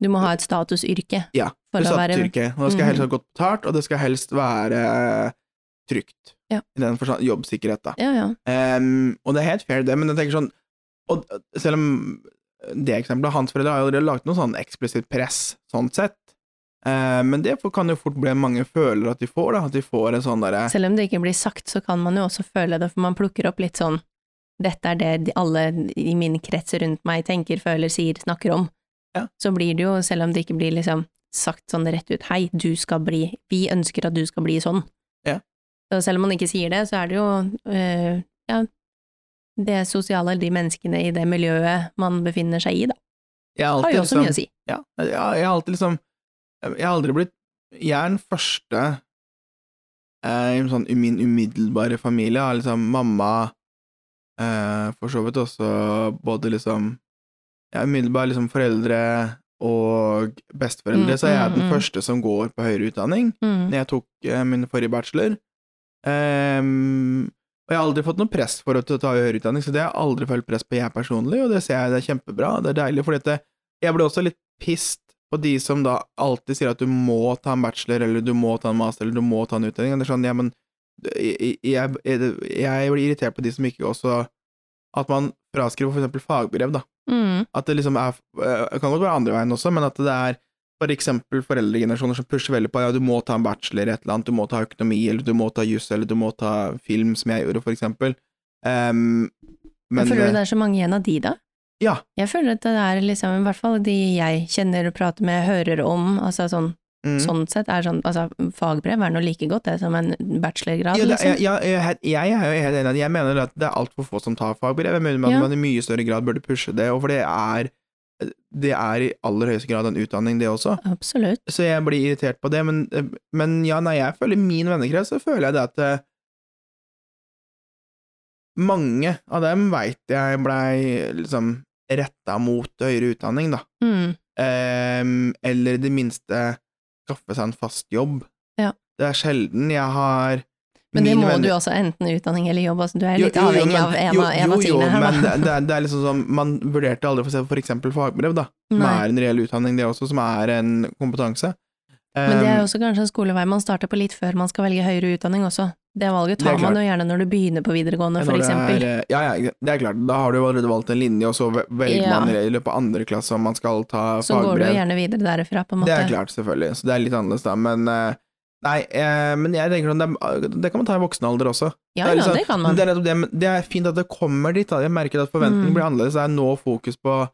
B: Du må ha et statusyrke
C: Ja,
B: for
C: Du
B: å
C: satt
B: være
C: yrke, og det skal helst
B: Mhm.
C: være godt betalt, og det skal helst være eh, trygt.
B: Ja.
C: I den forstand jobbsikkerhet, da.
B: Ja, ja.
C: Ehm, og det er helt fair, det, men jeg tenker sånn og, Selv om det eksempelet Hans foreldre har jo allerede lagt noe sånn eksplisitt press, sånn sett. Eh, men det kan jo fort bli mange føler at de får, da. At de får en sånn derre
B: Selv om det ikke blir sagt, så kan man jo også føle det, for man plukker opp litt sånn Dette er det de- alle i min krets rundt meg tenker, føler, sier, snakker om.
C: Ja.
B: Så blir det jo, selv om det ikke blir liksom sagt sånn rett ut Hei, du skal bli Vi ønsker at du skal bli sånn.
C: Ja.
B: Så selv om man ikke sier det, så er det jo øh, ja, det sosiale, eller de menneskene i det miljøet man befinner seg i, da,
C: Jeg har
B: har
C: alltid
B: jo også
C: liksom-
B: mye å si.
C: Ja, jeg, jeg har alltid liksom Jeg har aldri blitt Jeg er den første eh, i en sånn, i min umiddelbare familie. Jeg har liksom mamma eh, For så vidt også både liksom Ja, umiddelbare liksom foreldre og besteforeldre,
B: Mm,
C: så jeg er
B: mm,
C: den
B: mm.
C: første som går på høyere utdanning.
B: Mm.
C: Når jeg tok eh, min forrige bachelor. Ehm, og jeg har aldri fått noe press for å ta ta høyere utdanning, så det har jeg aldri følt press på jeg personlig, og det ser jeg det er kjempebra, det er deilig, fordi at det- jeg ble også litt pissed på de som da alltid sier at du må ta en bachelor, eller du må ta en master, eller du må ta en utdanning, og det er sånn, ja, men jeg, jeg, jeg, jeg blir irritert på de som ikke også At man fraskriver for eksempel fagbrev, da.
B: Mm.
C: At det liksom er Det kan godt være andre veien også, men at det er for eksempel foreldregenerasjoner som pusher veldig på ja, du må ta en bachelor i et eller annet, du må ta økonomi, eller du må ta juss, eller du må ta film, som jeg gjorde, for eksempel. Ehm, men
B: føler du det er så mange igjen av de, da?
C: Ja.
B: Jeg føler at det er liksom, i hvert fall de jeg kjenner og prater med, hører om, altså sånn,
C: mm.
B: sånn sett, er sånn, altså fagbrev er noe like godt det som en bachelorgrad,
C: ja, det, jeg, jeg,
B: liksom.
C: jeg, er helt- jeg er jo helt enig. i at Jeg mener at det er altfor få som tar fagbrev. Jeg mener at
B: Ja.
C: man i mye større grad burde pushe det, og for det er, det er i aller høyeste grad en utdanning, det også.
B: Absolutt.
C: så jeg blir irritert på det, men, men ja, nei, jeg føler i min vennekrets, så føler jeg det at eh, mange av dem veit jeg blei liksom retta mot høyere utdanning, da.
B: Mm.
C: Ehm, eller i det minste skaffe seg en fast jobb.
B: Ja.
C: Det er sjelden jeg har
B: Men det
C: mine
B: må
C: venner-
B: du også, enten utdanning eller jobb, altså du er
C: Jo,
B: litt
C: jo, jo,
B: avhengig
C: men-
B: av en
C: jo,
B: av, en av
C: jo, jo,
B: tingene her,
C: men
B: da.
C: det, det, er- det er liksom sånn, man vurderte aldri for å se for eksempel fagbrev, da. Som
B: Nei.
C: er en reell utdanning, det også, som er en kompetanse.
B: Men det er
C: Ehm,
B: jo også kanskje en skolevei man starter på litt før man skal velge høyere utdanning også. Det valget
C: Det er
B: tar man
C: klart.
B: jo gjerne når du begynner på videregående,
C: Når
B: for
C: det
B: eksempel.
C: er, eh, ja, ja, det er klart. Da har du jo allerede valgt en linje, og så ve- velger
B: Ja.
C: man i løpet av andre klasse om man skal ta
B: Så går du jo
C: fagbrev.
B: gjerne videre derfra, på en måte.
C: Det er klart, selvfølgelig. Så det er litt annerledes da. Men, eh, nei, eh, men jeg tenker sånn, det, er- det kan man ta i voksen alder også.
B: Ja,
C: det er
B: ja,
C: liksom-
B: det kan man.
C: Det er, nettopp det, men det er fint at det kommer dit. Da. Jeg merker at forventningene
B: Mm.
C: blir annerledes. Det er nå fokus på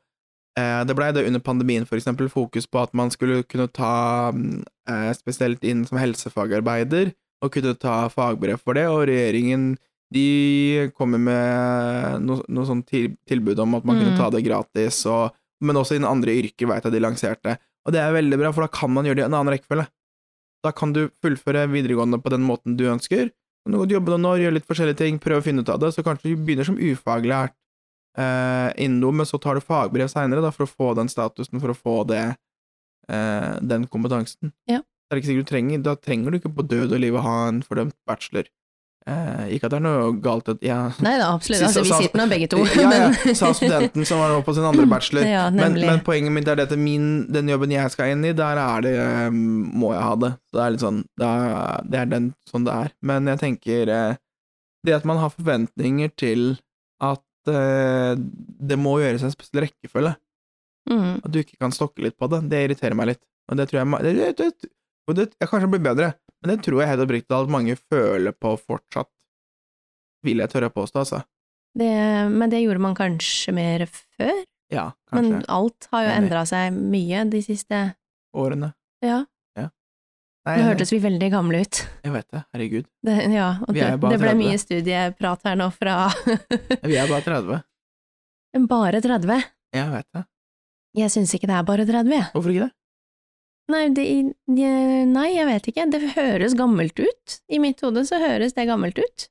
C: eh, Det blei det under pandemien, for eksempel, fokus på at man skulle kunne ta mm, eh, spesielt inn som helsefagarbeider, og kunne ta fagbrev for det, og regjeringen de kommer med noe, noe sånn til, tilbud om at man
B: Mm.
C: kunne ta det gratis, og, men også innen andre yrker, veit jeg de lanserte. Og det er veldig bra, for da kan man gjøre det i en annen rekkefølge. Da kan du fullføre videregående på den måten du ønsker. Kan du godt jobbe noen år, gjøre litt forskjellige ting, prøve å finne ut av det, så kanskje du begynner som ufaglært eh, innen noe, men så tar du fagbrev seinere for å få den statusen, for å få det, eh, den kompetansen.
B: Ja.
C: Det er ikke sikkert du trenger, Da trenger du ikke på død og liv å ha en fordømt bachelor. Eh, ikke at det er noe galt at ja,
B: Nei da, absolutt.
C: Sist-
B: Altså, vi
C: sa-
B: sitter nå begge to.
C: ja, ja,
B: men-
C: sa studenten som var nå på sin andre bachelor.
B: Ja,
C: Men,
B: nemlig.
C: men poenget mitt er dette, min, den jobben jeg skal inn i, der er det, eh, må jeg ha det. Så det er litt sånn, det er, det er den, sånn det er. Men jeg tenker, eh, det at man har forventninger til at eh, det må gjøres en spesiell rekkefølge,
B: Mm.
C: at du ikke kan stokke litt på det, det irriterer meg litt. Og det tror jeg, ma- det, det, det, og det, jeg kanskje blir bedre, men det tror jeg helt oppriktig talt mange føler på fortsatt, vil jeg tørre å påstå, altså.
B: Det, men det gjorde man kanskje mer før.
C: Ja,
B: Men
C: kanskje.
B: alt har jo
C: Enig.
B: endra seg mye de siste
C: Årene.
B: Ja,
C: Nei,
B: nå
C: jeg-
B: hørtes vi veldig gamle ut.
C: Jeg vet det, herregud.
B: Det, ja, og
C: Vi
B: det,
C: er jo bare
B: det ble
C: 30.
B: mye studieprat her nå fra
C: Vi er bare 30.
B: bare 30.
C: Jeg vet det.
B: Jeg syns ikke det er bare 30, jeg.
C: Hvorfor ikke det?
B: Nei, det, jeg- nei, jeg vet ikke. Det høres gammelt ut. I mitt hode så høres det gammelt ut.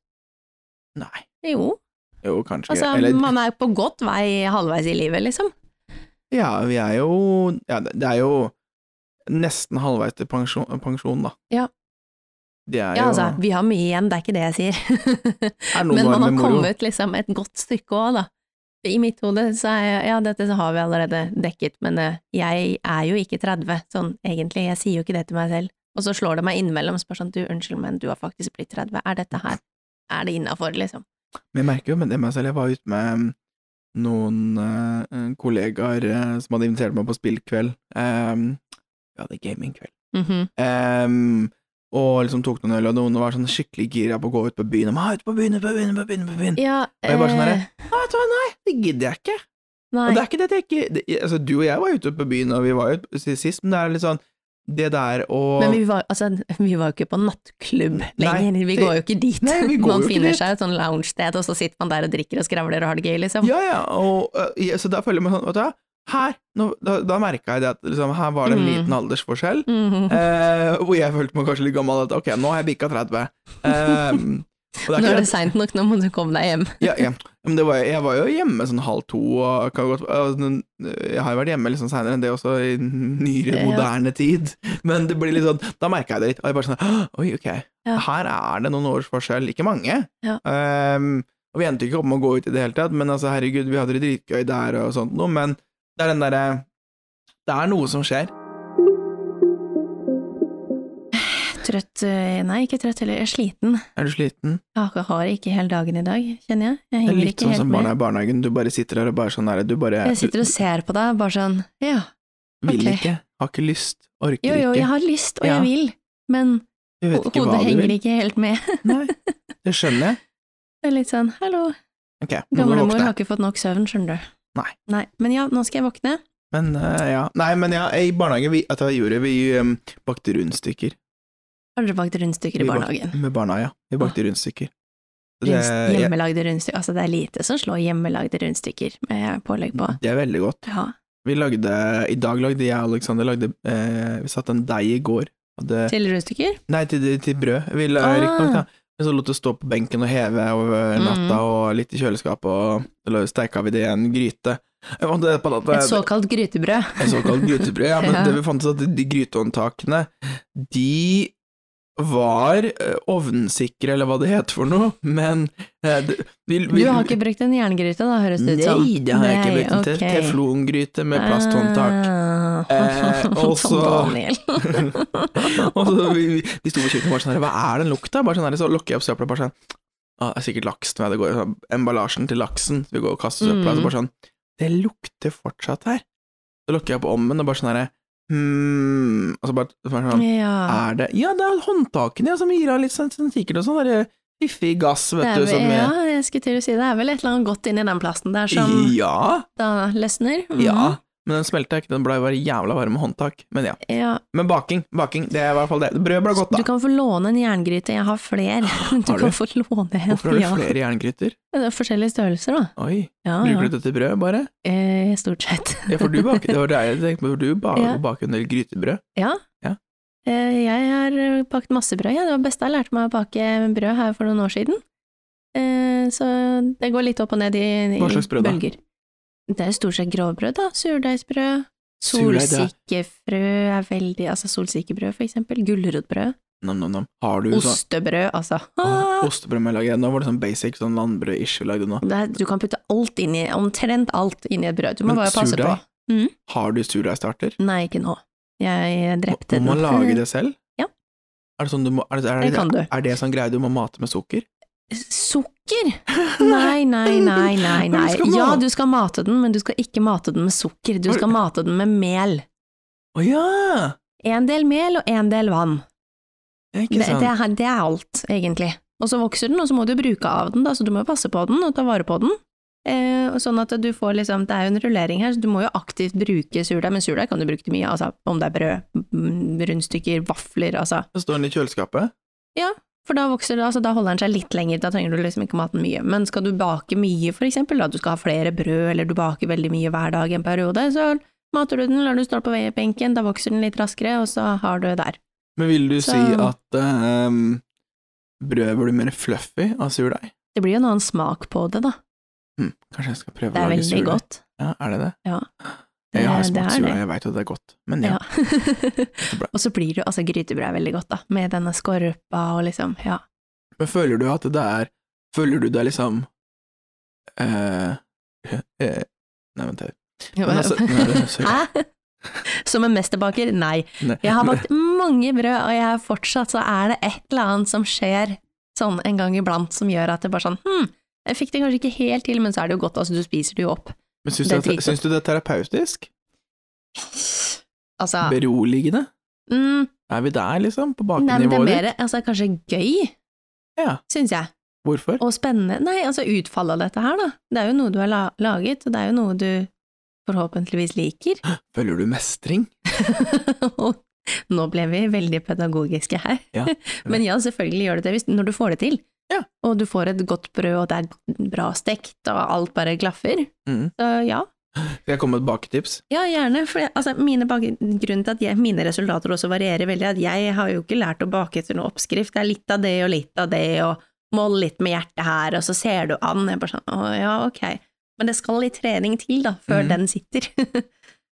C: Nei.
B: Jo.
C: Jo, kanskje
B: Altså,
C: Eller
B: man er på godt vei halvveis i livet, liksom.
C: Ja, vi er jo Ja, det det er jo nesten halvveis til pensjon, pensjon da.
B: Ja.
C: Det er jo
B: Ja, altså, vi har mye igjen, det er ikke det jeg sier.
C: er noen
B: Men man
C: år
B: har
C: med moro.
B: kommet liksom et godt stykke òg, da. I mitt hode så er jeg, ja, dette har vi allerede dekket, men eh, jeg er jo ikke 30, sånn egentlig, jeg sier jo ikke det til meg selv. Og så slår det meg innimellom, spør sånn, du, unnskyld, men du har faktisk blitt 30, er dette her, er det innafor, liksom?
C: Men jeg merker jo med det meg selv, jeg var ute med mm, noen eh, kollegaer eh, som hadde invitert meg på spillkveld. Um, vi hadde gamingkveld.
B: Mhm.
C: Em, og liksom tok noen øl, og noen var sånn skikkelig gira på å gå ut på byen. Og man, ut på byen, ut på byen, ut på byen, ut på byen.
B: Ja,
C: Og jeg bare sånn
B: eh,
C: herre, «Nei, vet du hva, nei, det gidder jeg ikke. Og det
B: nei,
C: er ikke det at jeg ikke det, Altså, du og jeg var ute på byen, og vi var jo ute sist, men det er litt sånn Det der å
B: men vi var, altså, vi var jo ikke på nattklubb lenger, vi
C: det-
B: går jo ikke dit.
C: Nei, vi går
B: man
C: jo ikke
B: finner
C: dit.
B: seg et sånn lounge-sted, og så sitter man der og drikker og skravler og har det gøy, liksom.
C: Ja, ja, og øh, ja, Så da føler jeg meg sånn, vet du hva, her nå, Da, da merka jeg det at liksom, her var det en
B: Mm.
C: liten aldersforskjell,
B: Mhm.
C: eh, hvor jeg følte meg kanskje litt gammel, at ok, nå har jeg bikka 30. Eh, og det er ikke
B: Nå er
C: det
B: det seint nok, nå må du komme deg hjem.
C: ja, ja. Men det var, jeg var jo hjemme sånn halv to, og kan godt, altså, jeg har jo vært hjemme litt sånn seinere enn det også, i nyere,
B: Ja.
C: moderne tid. Men det blir litt sånn, da merka jeg det litt. Og jeg bare sånn «Åh, Oi, ok.
B: Ja.
C: Her er det noen års forskjell. Ikke mange.
B: Ja.
C: Ehm, og vi endte jo ikke opp med å gå ut i det hele tatt, men altså, herregud, vi hadde det dritgøy der og sånt noe, men det er den derre Det er noe som skjer.
B: Trøtt eh, Nei, ikke trøtt heller. Jeg er sliten.
C: Er du sliten?
B: Jeg har ikke hele dagen i dag, kjenner jeg. Jeg
C: Det er
B: henger
C: litt
B: ikke
C: sånn
B: helt
C: som
B: med.
C: barna i barnehagen. Du bare sitter der og bare sånn der, du bare
B: Jeg sitter og ser på deg, bare sånn Ja.
C: du vil
B: ok.
C: ikke, har ikke lyst, orker
B: Jo, jo, jeg
C: ikke.
B: har lyst, og
C: Ja.
B: jeg vil, men
C: Du vet
B: ho-
C: ikke hva
B: hodet
C: du vil.
B: henger ikke helt med.
C: Nei, det skjønner jeg.
B: Det er litt sånn Hallo,
C: Ok, nå må du
B: gamlemor
C: våkne.
B: har ikke fått nok søvn, skjønner du.
C: Nei.
B: Nei. Men ja, nå skal jeg våkne.
C: Men eh, ja. Nei, men ja, i barnehagen vi, at jeg gjorde, vi um, bakte rundstykker.
B: Har dere bakt rundstykker
C: Vi
B: i
C: bak-
B: barnehagen? Ah.
C: Med barna, ja. Vi bakte rundstykker. Det,
B: Rundst,
C: jeg,
B: hjemmelagde rundstykker. Altså, det er lite som slår hjemmelagde rundstykker med pålegg på.
C: det er veldig godt.
B: Ja.
C: Vi lagde, I dag lagde jeg og Alexander lagde, eh, Vi satte en deig i går. Og det,
B: Til rundstykker?
C: nei, til, til brød. Vi la,
B: Ah. Mm.
C: riktignok, da. Men så lot det stå på benken og heve over natta, og litt i kjøleskapet, og så la- steika vi det i en gryte. Og det, på natta-
B: Et såkalt grytebrød.
C: En såkalt grytebrød. Ja, men
B: Ja.
C: det vi fant ut at de grytehåndtakene, de var eh, ovnsikre, eller hva det heter for noe, men eh, det- vi,
B: Du har ikke brukt en jerngryte, da, høres det ut som?
C: Nei, det har jeg ikke
B: Nei,
C: brukt. Okay.
B: ok.
C: Teflongryte med plasthåndtak. Eh, og
B: Tom
C: så-
B: Ah. Daniel.
C: og så vi, vi, vi sto på kjøkkenet og bare sånn her, hva er den lukta? Bare sånn her, så lokker jeg opp søpla, bare sånn, ah, det er sikkert laksen, ja, det går, sånn, emballasjen til laksen, så vi går og kaster søpla,
B: Mm.
C: så bare sånn, det lukter fortsatt her. Så lokker jeg opp ommen og bare sånn her, hmm, og så bare, så bare sånn,
B: Ja.
C: er det Ja, det er håndtakene ja, som gir av litt sånn sånn sikkert og sånn derre fiffig gass,
B: Det
C: vet
B: er
C: du,
B: vel,
C: som eh,
B: ja, jeg skulle til å si det er vel et eller annet godt inni den plasten der som
C: Ja,
B: da løsner. Mhm.
C: ja. Men den smelta ikke, den blei bare jævla varm med håndtak. Men ja.
B: Ja.
C: Men baking, baking, det er i hvert fall det. Brød ble godt,
B: Du
C: da.
B: kan få låne en jerngryte, jeg har flere. Du
C: Har du?
B: kan få låne en.
C: Hvorfor har du
B: ja.
C: flere jerngryter?
B: Det er forskjellige størrelser, da.
C: Oi,
B: Ja,
C: bruker
B: ja.
C: du det til brød, bare?
B: Eh, stort sett.
C: Ja, for du baker, det var det jeg tenkte på, for du ba-
B: Ja.
C: baker en del grytebrød.
B: Ja.
C: Ja.
B: Eh, Eh, Jeg har eh, bakt masse brød, jeg. Det var det beste jeg lærte meg å bake brød her for noen år siden. Eh, Så det går litt opp og ned i, i
C: Hva slags brød da?
B: bølger. Det er jo stort sett grovbrød, da. Surdeigsbrød.
C: Surdeig, det er-
B: Solsikkefrø er veldig Altså solsikkebrød, for eksempel. Gulrotbrød.
C: Nam, nam, nam. Har du sånn
B: Ostebrød, altså.
C: Åh,
B: Ah!
C: Ostebrød må jeg lage. Nå var det sånn basic sånn landbrød-ish vi lagde nå.
B: Det er, du kan putte alt inn i, omtrent alt inn i et brød. Du må
C: Men
B: bare passe på.
C: surdeig? Har du surdeigstarter?
B: Nei, ikke nå. Jeg
C: Må
B: drepte
C: må man lage
B: den.
C: det selv?
B: Ja.
C: Er det sånn du må Er det, er
B: Det
C: det,
B: kan du.
C: er det sånn greie du må mate med sukker?
B: Sukker? Nei, nei, nei, nei.
C: Men du
B: nei.
C: skal mate-
B: Ja, du skal mate den, men du skal ikke mate den med sukker. Du skal mate den med mel.
C: Å ja!
B: En del mel og en del vann.
C: Ja, Ikke
B: Det,
C: sant.
B: det, er, det er alt, egentlig. Og så vokser den, og så må du bruke av den, da, så du må passe på den og ta vare på den. Eh, og sånn at du får liksom, Det er jo en rullering her, så du må jo aktivt bruke surdeig, men surdeig kan du bruke til mye, altså, om det er brød, mm, rundstykker, vafler, altså.
C: Så står den i kjøleskapet.
B: For da vokser det, altså da holder den seg litt lenger, da trenger du liksom ikke maten mye. Men skal du bake mye, for eksempel, da du skal ha flere brød, eller du baker veldig mye hver dag i en periode, så mater du den, lar du stå på benken, da vokser den litt raskere, og så har du der.
C: Men vil du
B: Så-
C: si at ehm, brødet blir mer fluffy av surdeig?
B: Det blir jo en annen smak på det, da.
C: Hm, kanskje jeg skal prøve
B: Det
C: å
B: er
C: lage
B: veldig
C: surdeig?
B: godt.
C: Ja, er det det?
B: Ja.
C: Jeg har
B: Det- det
C: smakt
B: er
C: surdeig,
B: det.
C: jeg veit at det er godt, men ja.
B: Ja. og så blir det, altså grytebrød er veldig godt, da, med denne skorpa og liksom, ja.
C: Men føler du at det er Føler du deg liksom eh, eh, Nei, vent her. Men altså, nei, det er så-
B: Hæ? Som en mesterbaker? Nei.
C: Nei.
B: Jeg har bakt mange brød, og jeg er fortsatt så er det et eller annet som skjer sånn en gang iblant som gjør at det bare sånn hm, jeg fikk det kanskje ikke helt til, men så er det jo godt, altså du spiser det jo opp.
C: Men syns
B: det
C: du,
B: er
C: at-
B: dritgodt.
C: syns du det er terapeutisk?
B: Altså
C: Beroligende?
B: mm,
C: Er vi der, liksom? På
B: Nei, men det er
C: bakenivået
B: mer
C: ditt?
B: altså, kanskje gøy,
C: Ja.
B: syns jeg.
C: Hvorfor?
B: Og spennende. Nei, altså utfallet av dette her, da. Det er jo noe du har la laget, og det er jo noe du forhåpentligvis liker.
C: Føler du mestring?
B: og nå ble vi veldig pedagogiske her.
C: Ja,
B: Men ja, selvfølgelig gjør det det hvis, når du får det til.
C: Ja.
B: Og du får et godt brød, og det er bra stekt, og alt bare glaffer.
C: Mhm.
B: Så ja.
C: Skal jeg komme med et baketips?
B: ja, gjerne. For jeg, altså, mine bak- grunnen til at jeg, mine resultater også varierer veldig, er at jeg har jo ikke lært å bake etter noen oppskrift. Det er litt av det og litt av det, og mål litt med hjertet her, og så ser du an. Jeg bare sånn, å ja, ok. Men det skal litt trening til, da, før
C: Mhm.
B: den sitter.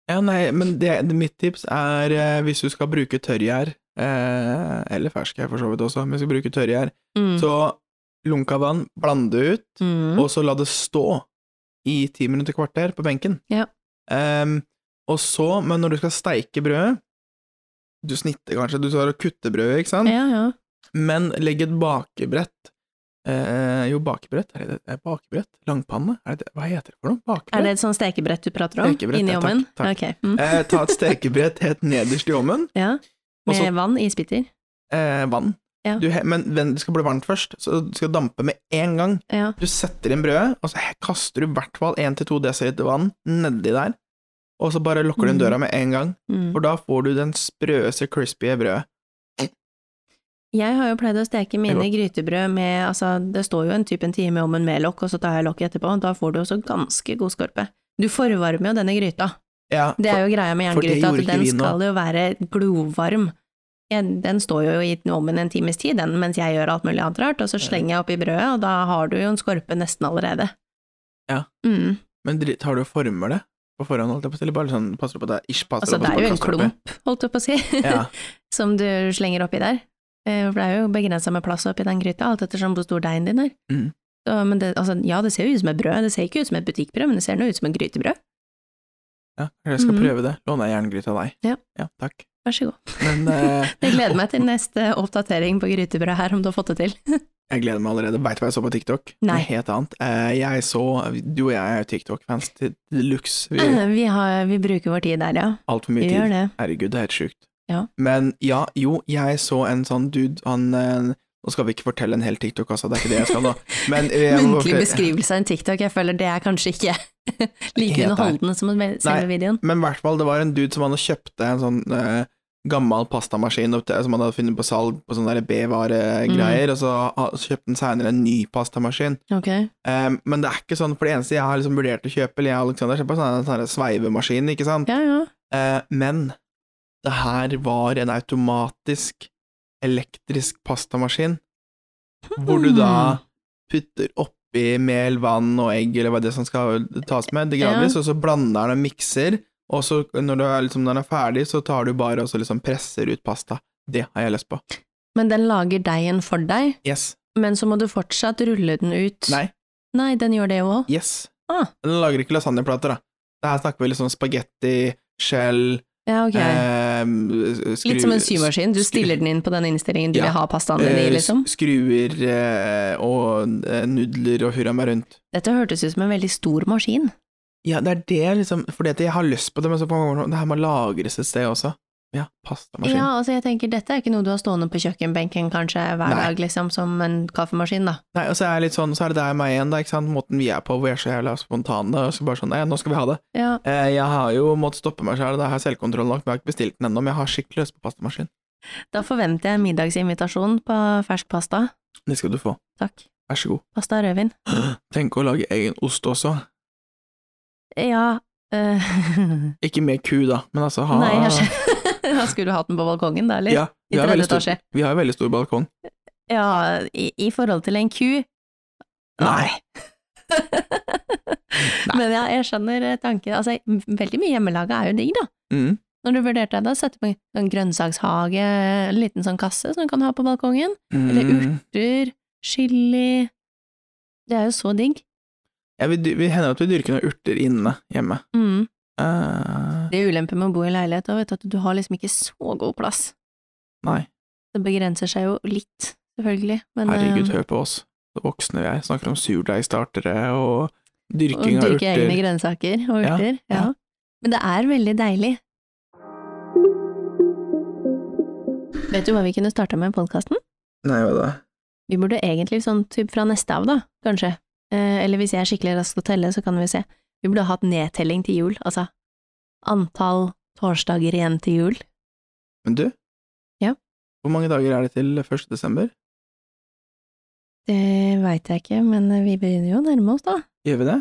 C: Ja, nei, men det, det- mitt tips er eh, hvis du skal bruke tørrgjær, eh, eller ferskgjær for så vidt også, men hvis du skal bruke tørrgjær,
B: Mm.
C: så lunka vann, bland det ut,
B: Mm.
C: og så la det stå i ti minutter kvarter på benken.
B: Ja.
C: Ehm, og så, men når du skal steike brødet, du snitter kanskje, du tar og kutter brødet, ikke sant?
B: Ja, ja.
C: Men legg et bakebrett. Eh, jo, bakebrett, er det det? Eh, Bakebrett? Langpanne? Er det det? Hva heter det for noe? Bakebrett?
B: Er det et sånt stekebrett du prater om?
C: Stekebrett,
B: Inni
C: ja, takk,
B: ovnen?
C: takk.
B: Ok. Mm.
C: Eh, ta et stekebrett helt nederst i ovnen,
B: Ja.
C: og
B: Med
C: så
B: vann, isbiter?
C: eh, vann.
B: Ja.
C: Du he- men men det skal bli varmt først, så det skal dampe med en gang.
B: Ja.
C: Du setter inn brødet, og så he- kaster du i hvert fall 1-2 dl vann nedi der, og så bare lukker du
B: Mm.
C: inn døra med en gang,
B: Mm.
C: for da får du den sprøeste, crispy brødet.
B: Jeg har jo pleid å steke mine
C: Det
B: grytebrød med altså, Det står jo en type en time i ovnen med lokk, og så tar jeg lokket etterpå. og Da får du også ganske god skorpe. Du forvarmer jo denne gryta.
C: Ja,
B: Det er jo greia med
C: for det
B: jerngryta,
C: gjorde
B: at
C: ikke
B: den
C: vi nå.
B: skal jo være glovarm. Jeg- Den står jo i ovnen en times tid, den, mens jeg gjør alt mulig annet rart, og så slenger jeg oppi brødet, og da har du jo en skorpe nesten allerede.
C: Ja.
B: Mm.
C: men dri- tar du og former det på forhånd, holdt jeg på å si, eller bare sånn, passer du på at det er ish, passer du
B: Altså,
C: på
B: det
C: at
B: er jo en
C: kaster oppi?
B: klump, holdt jeg på å si,
C: Ja.
B: som du slenger oppi der. Eh, For det er jo begrensa med plass oppi den gryta, alt ettersom hvor stor deigen din er.
C: Mhm.
B: Så, men det, altså, ja, det ser jo ut som et brød, det ser ikke ut som et butikkbrød, men det ser nå ut som et grytebrød.
C: Ja, jeg skal
B: Mhm.
C: prøve det. Låner jeg jerngryta av deg?
B: Ja.
C: takk.
B: Vær så god.
C: Men eh,
B: Jeg gleder meg til neste oppdatering på grytebrød her, om du har fått det til.
C: jeg gleder meg allerede. Veit du hva jeg så på TikTok?
B: Nei.
C: Noe helt annet. Eh, jeg så Du og jeg er jo TikTok-fans til luxe. Vi har
B: Vi, har, vi bruker vår tid der, ja.
C: altfor mye
B: Mm. Vi gjør
C: tid.
B: det.
C: Herregud, det er helt sjukt.
B: Ja.
C: Men ja, jo, jeg så en sånn dude, han eh, Nå skal vi ikke fortelle en hel TikTok, altså, det er ikke det jeg skal nå. Men eh, jeg må
B: Muntlig
C: fortelle-
B: beskrivelse av en TikTok, jeg føler det er kanskje ikke like
C: Helt
B: underholdende som en- selve videoen.
C: Men i hvert fall, det var en dude som hadde kjøpt en sånn eh, gammel pastamaskin opp til, som han hadde funnet på salg på sånne der
B: Mm.
C: B-varegreier, og så, ha- så kjøpte han seinere en ny pastamaskin.
B: Ok.
C: Em, men det er ikke sånn, for det eneste jeg har liksom vurdert å kjøpe, eller jeg og Aleksander, er på sånn, sånn sveivemaskin, ikke sant?
B: Ja, ja.
C: Eh, men det her var en automatisk elektrisk pastamaskin, hvor du da putter oppi mel, vann og egg, eller hva det er som skal tas med, det gradvis, og så blander den og mikser, og så når, du er, liksom, når den er ferdig, så tar du bare og så liksom presser ut pasta. Det har jeg lyst på.
B: Men den lager deigen for deg,
C: Yes.
B: men så må du fortsatt rulle den ut.
C: Nei.
B: Nei, den gjør det jo òg.
C: Yes.
B: Ah.
C: Den lager ikke lasagneplater, da. Det her snakker vi liksom spagetti, skjell
B: Ja, ok.
C: eh, skru-
B: Litt som en symaskin. Du
C: skru-
B: stiller den inn på den innstillingen du
C: Ja.
B: vil ha pastaen din i,
C: eh,
B: liksom.
C: Skruer eh, og eh, nudler og hurra meg rundt.
B: Dette hørtes ut som en veldig stor maskin.
C: Ja, det er det, liksom, fordi at jeg har lyst på det, men så på mange måter, sånn, det her må lagres et sted også. Ja, pastamaskin.
B: Ja, altså jeg tenker dette er ikke noe du har stående på kjøkkenbenken kanskje hver
C: Nei.
B: dag, liksom, som en kaffemaskin, da.
C: Nei, og så er, jeg litt sånn, så er det der meg igjen, da, ikke sant, måten vi er på, hvor jeg er så jævla spontane, og så bare sånn, nei, nå skal vi ha det.
B: Ja,
C: Eh, jeg har jo måttet stoppe meg selv, og da har jeg selvkontroll nok, men jeg har ikke bestilt den ennå, men jeg har skikkelig lyst på pastamaskin.
B: da forventer jeg en middagsinvitasjon på fersk pasta.
C: Det skal du få.
B: Takk.
C: Vær så god.
B: Pasta og rødvin.
C: Tenk å lage egen ost også.
B: Ja, eh,
C: Ikke med ku, da, men altså ha
B: nei, jeg skjønner. Da skulle du hatt den på balkongen, da, eller?
C: Ja, vi
B: I
C: har,
B: tredje
C: veldig stor,
B: etasje.
C: vi har veldig stor balkong.
B: Ja, i, i forhold til en ku.
C: Nei.
B: Men ja, jeg skjønner tanken. Altså, veldig mye hjemmelaga er jo digg, da.
C: Mm.
B: Når du vurderte deg, da sette på en sånn grønnsakshage, en liten sånn kasse som du kan ha på balkongen. Eller
C: Mm.
B: Urter, chili Det er jo så digg.
C: Ja, vi, dy- vi hender at vi dyrker noen urter inne hjemme.
B: Mm.
C: Eh,
B: Det er ulempen med å bo i leilighet òg, vet du, at du har liksom ikke så god plass.
C: nei,
B: Det begrenser seg jo litt, selvfølgelig, men
C: herregud,
B: eh,
C: hør på oss. Så voksne vi er. Snakker om surdeigstartere og
B: å
C: dyrking av
B: dyrke egne
C: urter.
B: grønnsaker og
C: Ja,
B: urter, ja.
C: ja.
B: Men det er veldig deilig. Vet du hva vi kunne starta med i podkasten?
C: Nei, hva da?
B: Vi burde egentlig sånn typ fra neste av, da, kanskje. Eh, eller hvis jeg er skikkelig rask til å telle, så kan vi se. Vi burde hatt nedtelling til jul, altså antall torsdager igjen til jul.
C: Men du?
B: Ja.
C: Hvor mange dager er det til 1. desember?
B: Det veit jeg ikke, men vi begynner jo å nærme oss, da.
C: Gjør vi det?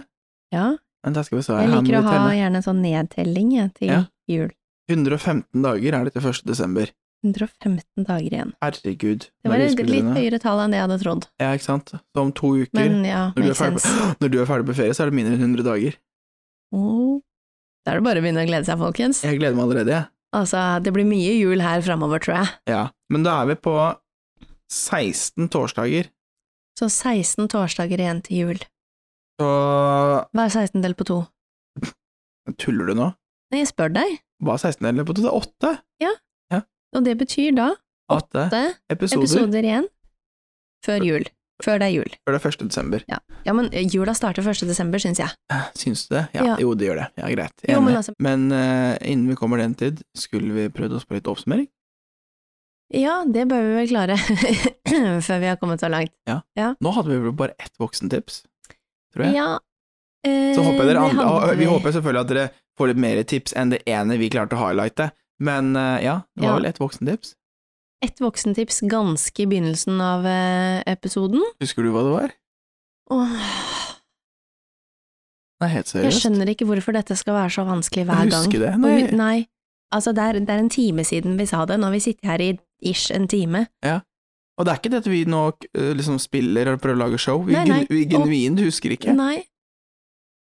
B: Ja.
C: Men da skal vi se.
B: Jeg
C: her må
B: liker å
C: vi
B: ha
C: telle.
B: gjerne sånn nedtelling jeg, til
C: Ja.
B: jul.
C: 115 dager er det til 1. desember.
B: 115 dager igjen.
C: Herregud.
B: Det var et litt
C: Norgesbilderna.
B: høyere tall enn det jeg hadde trodd.
C: Ja, ikke sant? Så om to uker,
B: Men ja,
C: når, du er
B: makes
C: ferdig,
B: sense.
C: på- når du er ferdig på ferie, så er det mindre enn 100 dager.
B: Åh. Da er det bare å begynne å glede seg, folkens.
C: Jeg gleder meg allerede, jeg.
B: Altså, det blir mye jul her framover, tror jeg.
C: Ja. Men da er vi på 16 torsdager.
B: Så 16 torsdager igjen til jul.
C: Så
B: Hva er 16 delt på to?
C: tuller du nå?
B: Nei, jeg spør deg,
C: Hva er 16 eller på to? Det er åtte.
B: og det betyr da
C: Åtte
B: åtte
C: episoder
B: episoder igjen før jul. Før det er jul.
C: før det er 1. desember.
B: Ja, men jula starter 1. desember, syns jeg.
C: Eh, Syns du det? Ja,
B: Ja.
C: Jo, det gjør det. Ja, greit.
B: Jo,
C: Enig.
B: men altså-
C: Men eh, innen vi kommer den tid, skulle vi prøvd oss på litt oppsummering?
B: Ja, det bør vi vel klare før vi har kommet så langt.
C: Nå hadde vi vel bare ett voksentips, tror jeg.
B: Ja. eh,
C: Så håper jeg dere
B: det
C: andre,
B: hadde
C: og vi
B: vi.
C: håper selvfølgelig at dere får litt mer tips enn det ene vi klarte å highlighte. Men eh, ja, det var
B: Ja.
C: vel et voksentips.
B: Et voksentips ganske i begynnelsen av eh, episoden.
C: Husker du hva det var?
B: Åh,
C: Nei, helt seriøst.
B: jeg skjønner ikke hvorfor dette skal være så vanskelig hver gang.
C: Husker det?
B: Og
C: Nei.
B: hu- Nei. Altså, det er, det er en time siden vi sa det. Nå har vi sittet her i ish en time.
C: Og det er ikke det at vi nå eh, liksom spiller og prøver å lage show. Vi,
B: Nei, nei.
C: gen- vi
B: Og-
C: genuint husker ikke.
B: Nei,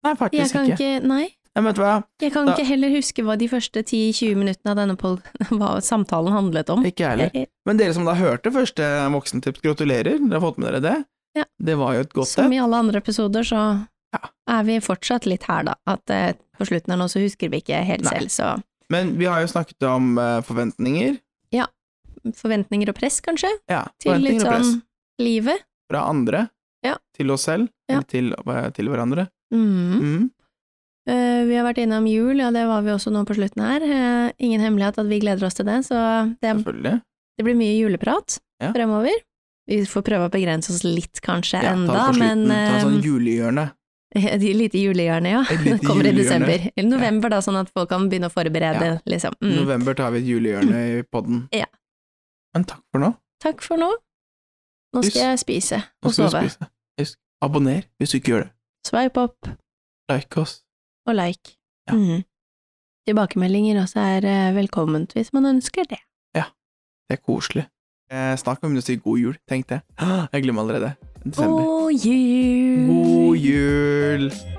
C: Nei,
B: jeg
C: faktisk
B: kan
C: ikke.
B: ikke, nei,
C: Nei, men vet du hva?
B: jeg kan
C: Da-
B: ikke heller huske hva de første 10-20 minuttene av denne pol hva samtalen handlet om. Eh,
C: Ikke jeg heller.
B: Jeg-
C: Men dere som da hørte første eh, voksentips, gratulerer. Dere har fått med dere det.
B: Ja.
C: Det var jo et godt
B: Som
C: et.
B: i alle andre episoder, så
C: Ja.
B: er vi fortsatt litt her, da. At eh, på slutten her nå så husker vi ikke helt
C: Nei.
B: selv, så
C: Men vi har jo snakket om eh, forventninger.
B: forventninger og press, kanskje?
C: Ja,
B: Til litt
C: forventninger og press.
B: sånn livet.
C: Fra andre
B: Ja.
C: til oss selv,
B: Ja.
C: eller til, eh, til hverandre.
B: Mm.
C: Mm.
B: Eh, vi har vært innom jul, ja det var vi også nå på slutten her. Eh, ingen hemmelighet at vi gleder oss til det, så det,
C: Selvfølgelig.
B: det blir mye juleprat
C: Ja.
B: fremover. Vi får prøve å begrense oss litt kanskje
C: Ja,
B: enda,
C: ta det på
B: men
C: slutten. Ta sånn
B: eh,
C: julehjørne.
B: et lite julehjørne, ja.
C: Et lite
B: Kommer i
C: julehjørne.
B: desember. Eller november, da, sånn at folk kan begynne å forberede, liksom. Mm.
C: November tar vi et julehjørne i podden.
B: Ja.
C: Men takk for nå.
B: Takk for nå. Nå
C: Hus-
B: skal jeg spise
C: Nå
B: og
C: skal
B: sove.
C: vi spise. Husk, abonner hvis du ikke gjør det.
B: Sveip opp
C: Like oss.
B: og like.
C: Ja.
B: Mm. tilbakemeldinger også er eh, velkomment hvis man ønsker det.
C: Det er koselig. Eh, snart kommer hun til å si god jul, tenk det. Jeg glemmer allerede. Desember.
B: God jul!
C: God jul!